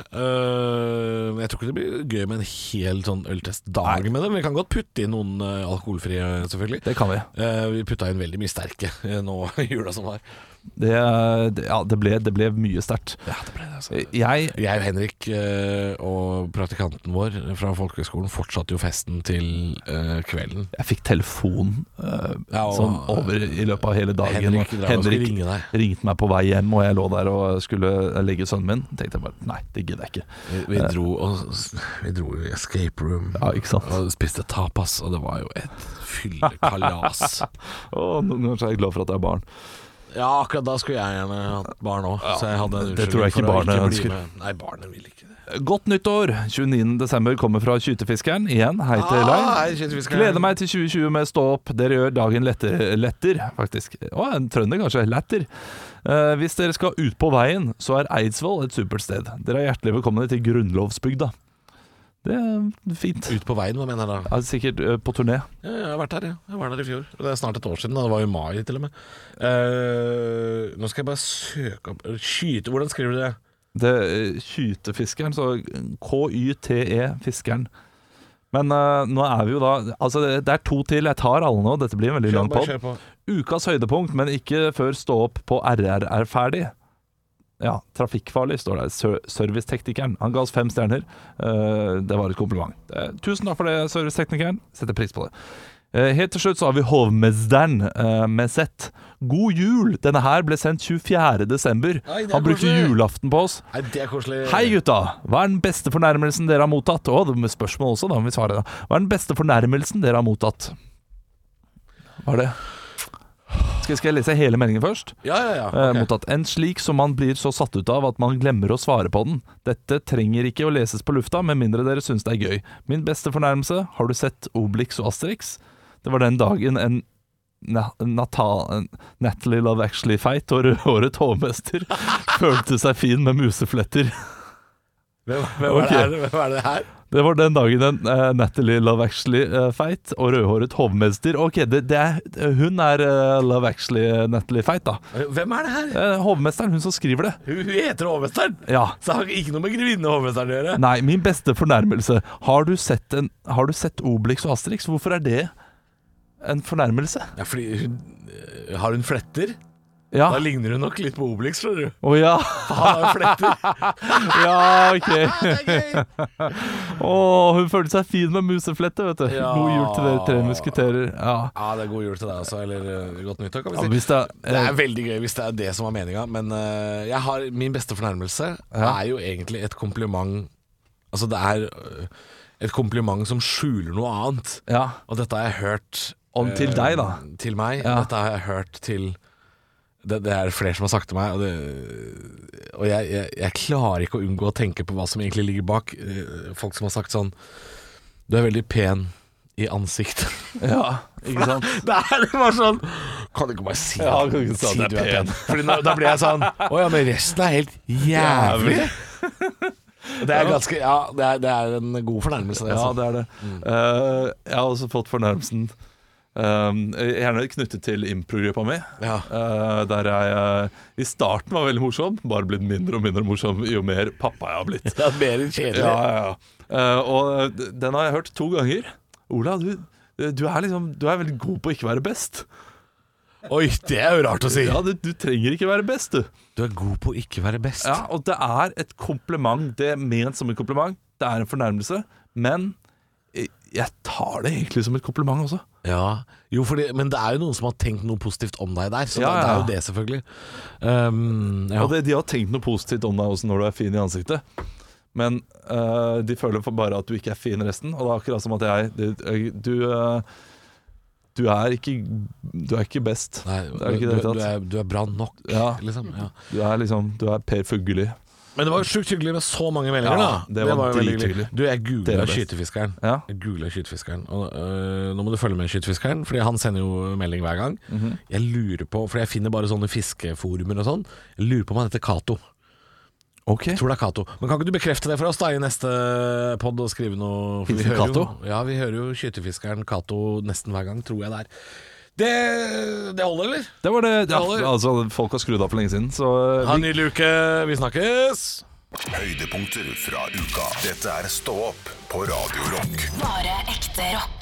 Speaker 3: Eh, Men jeg tror ikke det blir gøy med en hel sånn øltestdag med det. Men vi kan godt putte inn noen eh, alkoholfrie, selvfølgelig.
Speaker 4: det kan vi.
Speaker 3: Eh, Vi putta inn veldig mye sterke eh, nå i jula som var.
Speaker 4: Det, det, ja, det, ble, det ble mye sterkt. Jeg
Speaker 3: altså. Jeg og Henrik eh, og praktikanten vår fra folkehøgskolen fortsatte jo festen til eh, kvelden.
Speaker 4: Jeg fikk telefon eh,
Speaker 3: Ja, og-
Speaker 4: sånn over i løpet av hele dagen.
Speaker 3: Henrik,
Speaker 4: og
Speaker 3: drar og skal
Speaker 4: Henrik
Speaker 3: ringe deg.
Speaker 4: ringte meg på vei hjem, og jeg lå der og skulle legge sønnen min. Tenkte jeg bare nei, det gidder jeg ikke. Eh.
Speaker 3: Vi, vi dro og Vi dro i escape room.
Speaker 4: Ja, ikke sant?
Speaker 3: Og spiste tapas, og det var jo et fyllekalas.
Speaker 4: Å, noen ganger så er jeg glad for at jeg er barn.
Speaker 3: Ja, akkurat da skulle jeg gjerne hatt barn òg. så jeg hadde en
Speaker 4: det tror jeg ikke
Speaker 3: unnskyldning for å
Speaker 4: barnet
Speaker 3: bli
Speaker 4: ønsker.
Speaker 3: med. Nei, barnet vil ikke det.
Speaker 4: Godt nyttår! 29.12. kommer fra Kytefiskeren. Igjen, hei til
Speaker 3: Ah,
Speaker 4: deg.
Speaker 3: hei, Kytefiskeren.
Speaker 4: Gleder meg til 2020 med Stå opp. Dere gjør dagen letter, letter faktisk. Å, en trønder kanskje. Letter. Eh, hvis dere skal ut på veien, så er Eidsvoll et supert sted. Dere er hjertelig velkomne til Grunnlovsbygda. Det er fint.
Speaker 3: Ut på veien, hva mener jeg da?
Speaker 4: Ja, sikkert eh, på turné.
Speaker 3: Ja, jeg har vært der, ja. Jeg var der i fjor. Det er snart et år siden. da Det var jo i mai, til og med. Eh, nå skal jeg bare søke opp Skyte Hvordan skriver du det?
Speaker 4: Det eh, Kytefiskeren, så K-Y-T-E, fiskeren. Men eh, nå er vi jo da Altså, det, det er to til. Jeg tar alle nå. Dette blir en veldig lang
Speaker 3: Bare
Speaker 4: pod.
Speaker 3: kjør på.
Speaker 4: Ukas høydepunkt, men ikke før stå opp på RR er ferdig. Ja, trafikkfarlig står der. Ser- Serviceteknikeren. Han ga oss fem stjerner. Eh, det var et kompliment. Eh, tusen takk for det, serviceteknikeren. Setter pris på det. Eh, helt til slutt så har vi hovmesteren eh, med Z. God jul! Denne her ble sendt 24. desember.
Speaker 3: Oi, det er
Speaker 4: Han brukte
Speaker 3: koselig.
Speaker 4: julaften på oss.
Speaker 3: Nei, det er koselig.
Speaker 4: Hei gutta, hva er den beste fornærmelsen dere har mottatt? Å, det er spørsmål også, da må vi svare. da. Hva er den beste fornærmelsen dere har mottatt? Hva er det? Skal, skal jeg lese hele meldingen først?
Speaker 3: Ja, ja, ja.
Speaker 4: Eh,
Speaker 3: ok.
Speaker 4: mottatt. En slik som man blir så satt ut av at man glemmer å svare på den. Dette trenger ikke å leses på lufta, med mindre dere syns det er gøy. Min beste fornærmelse, har du sett Obelix og Asterix? Det var den dagen en Na- Natal, en Natalie Love Actually-feit og rødhåret hovmester følte seg fin med musefletter.
Speaker 3: Hvem, hvem, er
Speaker 4: Ok.
Speaker 3: det her? hvem er det her?
Speaker 4: Det var den dagen en eh, Natalie Love Actually-feit og rødhåret hovmester Ok, det, det er, hun er eh, Love Actually-Natalie-feit, da.
Speaker 3: Hvem er det her?
Speaker 4: Eh, hovmesteren, hun som skriver det.
Speaker 3: Hun, hun heter Hovmesteren!
Speaker 4: Ja.
Speaker 3: Så det har ikke noe med grevinne Hovmesteren å gjøre.
Speaker 4: Nei, min beste fornærmelse. Har du sett, en, har du sett Obelix og Asterix? Hvorfor er det en fornærmelse?
Speaker 3: Ja, fordi hun eh, Har hun fletter?
Speaker 4: Ja.
Speaker 3: Da ligner hun nok litt på Obelix, tror du.
Speaker 4: Å ja.
Speaker 3: Han har jo fletter.
Speaker 4: ja, ok. Å, hun følte seg fin med museflette, vet du.
Speaker 3: Ja.
Speaker 4: God jul til dere tre musketerer. Ja.
Speaker 3: Ja, det er god jul til deg også, eller eh, godt nyttår, kan
Speaker 4: Ja,
Speaker 3: vi si.
Speaker 4: hvis det
Speaker 3: Det
Speaker 4: er, eh,
Speaker 3: er veldig gøy hvis det er det som var meninga, men eh, jeg har, min beste fornærmelse
Speaker 4: Ja.
Speaker 3: er jo egentlig et kompliment Altså, det er eh, et kompliment som skjuler noe annet.
Speaker 4: ja.
Speaker 3: Og dette har jeg hørt
Speaker 4: Om til
Speaker 3: eh,
Speaker 4: deg, da.
Speaker 3: Til meg.
Speaker 4: Ja.
Speaker 3: Dette har jeg hørt til det, det er flere som har sagt til meg, og, det, og jeg, jeg, jeg klarer ikke å unngå å tenke på hva som egentlig ligger bak. Eh, Folk som har sagt sånn Du er veldig pen i ansiktet.
Speaker 4: ja. Ikke sant?
Speaker 3: Det er det bare sånn Kan du ikke bare si,
Speaker 4: Ja, kan du ikke si at
Speaker 3: si
Speaker 4: jeg er
Speaker 3: du er
Speaker 4: pen?
Speaker 3: pen? Fordi nå- da blir jeg sånn Å ja, men resten er helt jævlig. Det er, ganske, ja, det er, det er en god fornærmelse, det.
Speaker 4: Ja,
Speaker 3: Altså.
Speaker 4: det er det. Eh, jeg har også fått fornærmelsen eh, Gjerne knyttet til improgruppa mi.
Speaker 3: Ja.
Speaker 4: eh, der jeg eh, i starten var veldig morsom, bare blitt mindre og mindre morsom jo mer pappa jeg har blitt.
Speaker 3: Det er mer enn kjedelig.
Speaker 4: Ja, ja, ja. Eh, og d- den har jeg hørt to ganger. Ola, du, du er liksom Du er veldig god på å ikke være best.
Speaker 3: Oi, det er jo rart å si.
Speaker 4: Ja, du, du trenger ikke være best, du.
Speaker 3: Du er god på å ikke være best.
Speaker 4: Ja, og det er et kompliment. Det er ment som en kompliment. Det er en fornærmelse. Men jeg- jeg tar det egentlig som et kompliment
Speaker 3: altså.
Speaker 4: også.
Speaker 3: Ja, jo, fordi, Men det er jo noen som har tenkt noe positivt om deg der, så
Speaker 4: Ja,
Speaker 3: det, det er
Speaker 4: ja.
Speaker 3: jo det, selvfølgelig. Um, ja.
Speaker 4: Og det, de har tenkt noe positivt om deg også når du er fin i ansiktet. Men øh, de føler for bare at du ikke er fin resten. Og det er akkurat som at jeg Du, du, øh, du er ikke Du er ikke best.
Speaker 3: Nei,
Speaker 4: det er ikke det i det
Speaker 3: du,
Speaker 4: hele
Speaker 3: du,
Speaker 4: tatt.
Speaker 3: er, du er bra nok,
Speaker 4: Ja.
Speaker 3: liksom. Ja.
Speaker 4: Du er liksom Du er Per Fugelli.
Speaker 3: Men det var jo sjukt hyggelig med så mange meldinger,
Speaker 4: Ja,
Speaker 3: da.
Speaker 4: det var
Speaker 3: jo veldig
Speaker 4: drithyggelig.
Speaker 3: hyggelig. Du, jeg
Speaker 4: Det er
Speaker 3: googla
Speaker 4: best.
Speaker 3: skytefiskeren.
Speaker 4: Ja.
Speaker 3: Jeg googlet skytefiskeren Og øh, nå må du følge med skytefiskeren, Fordi han sender jo melding hver gang.
Speaker 4: Mhm.
Speaker 3: Jeg lurer på, for jeg finner bare sånne fiskeforumer og sånn, jeg lurer på om han heter Cato.
Speaker 4: Ok.
Speaker 3: Tror det er Cato. Men kan ikke du bekrefte det for oss da i neste pod og skrive noe? For
Speaker 4: Finnes det
Speaker 3: hører jo,
Speaker 4: Cato?
Speaker 3: ja, vi hører jo skytefiskeren Cato nesten hver gang, tror jeg det er. Det, det holder, eller?
Speaker 4: Det var det. Ja,
Speaker 3: Holder.
Speaker 4: altså, folk har skrudd av for lenge siden, så eh,
Speaker 3: Ha en ny luke, vi snakkes!
Speaker 1: Høydepunkter fra uka. Dette er Stå opp på Radio Rock.
Speaker 2: Bare ekte rock.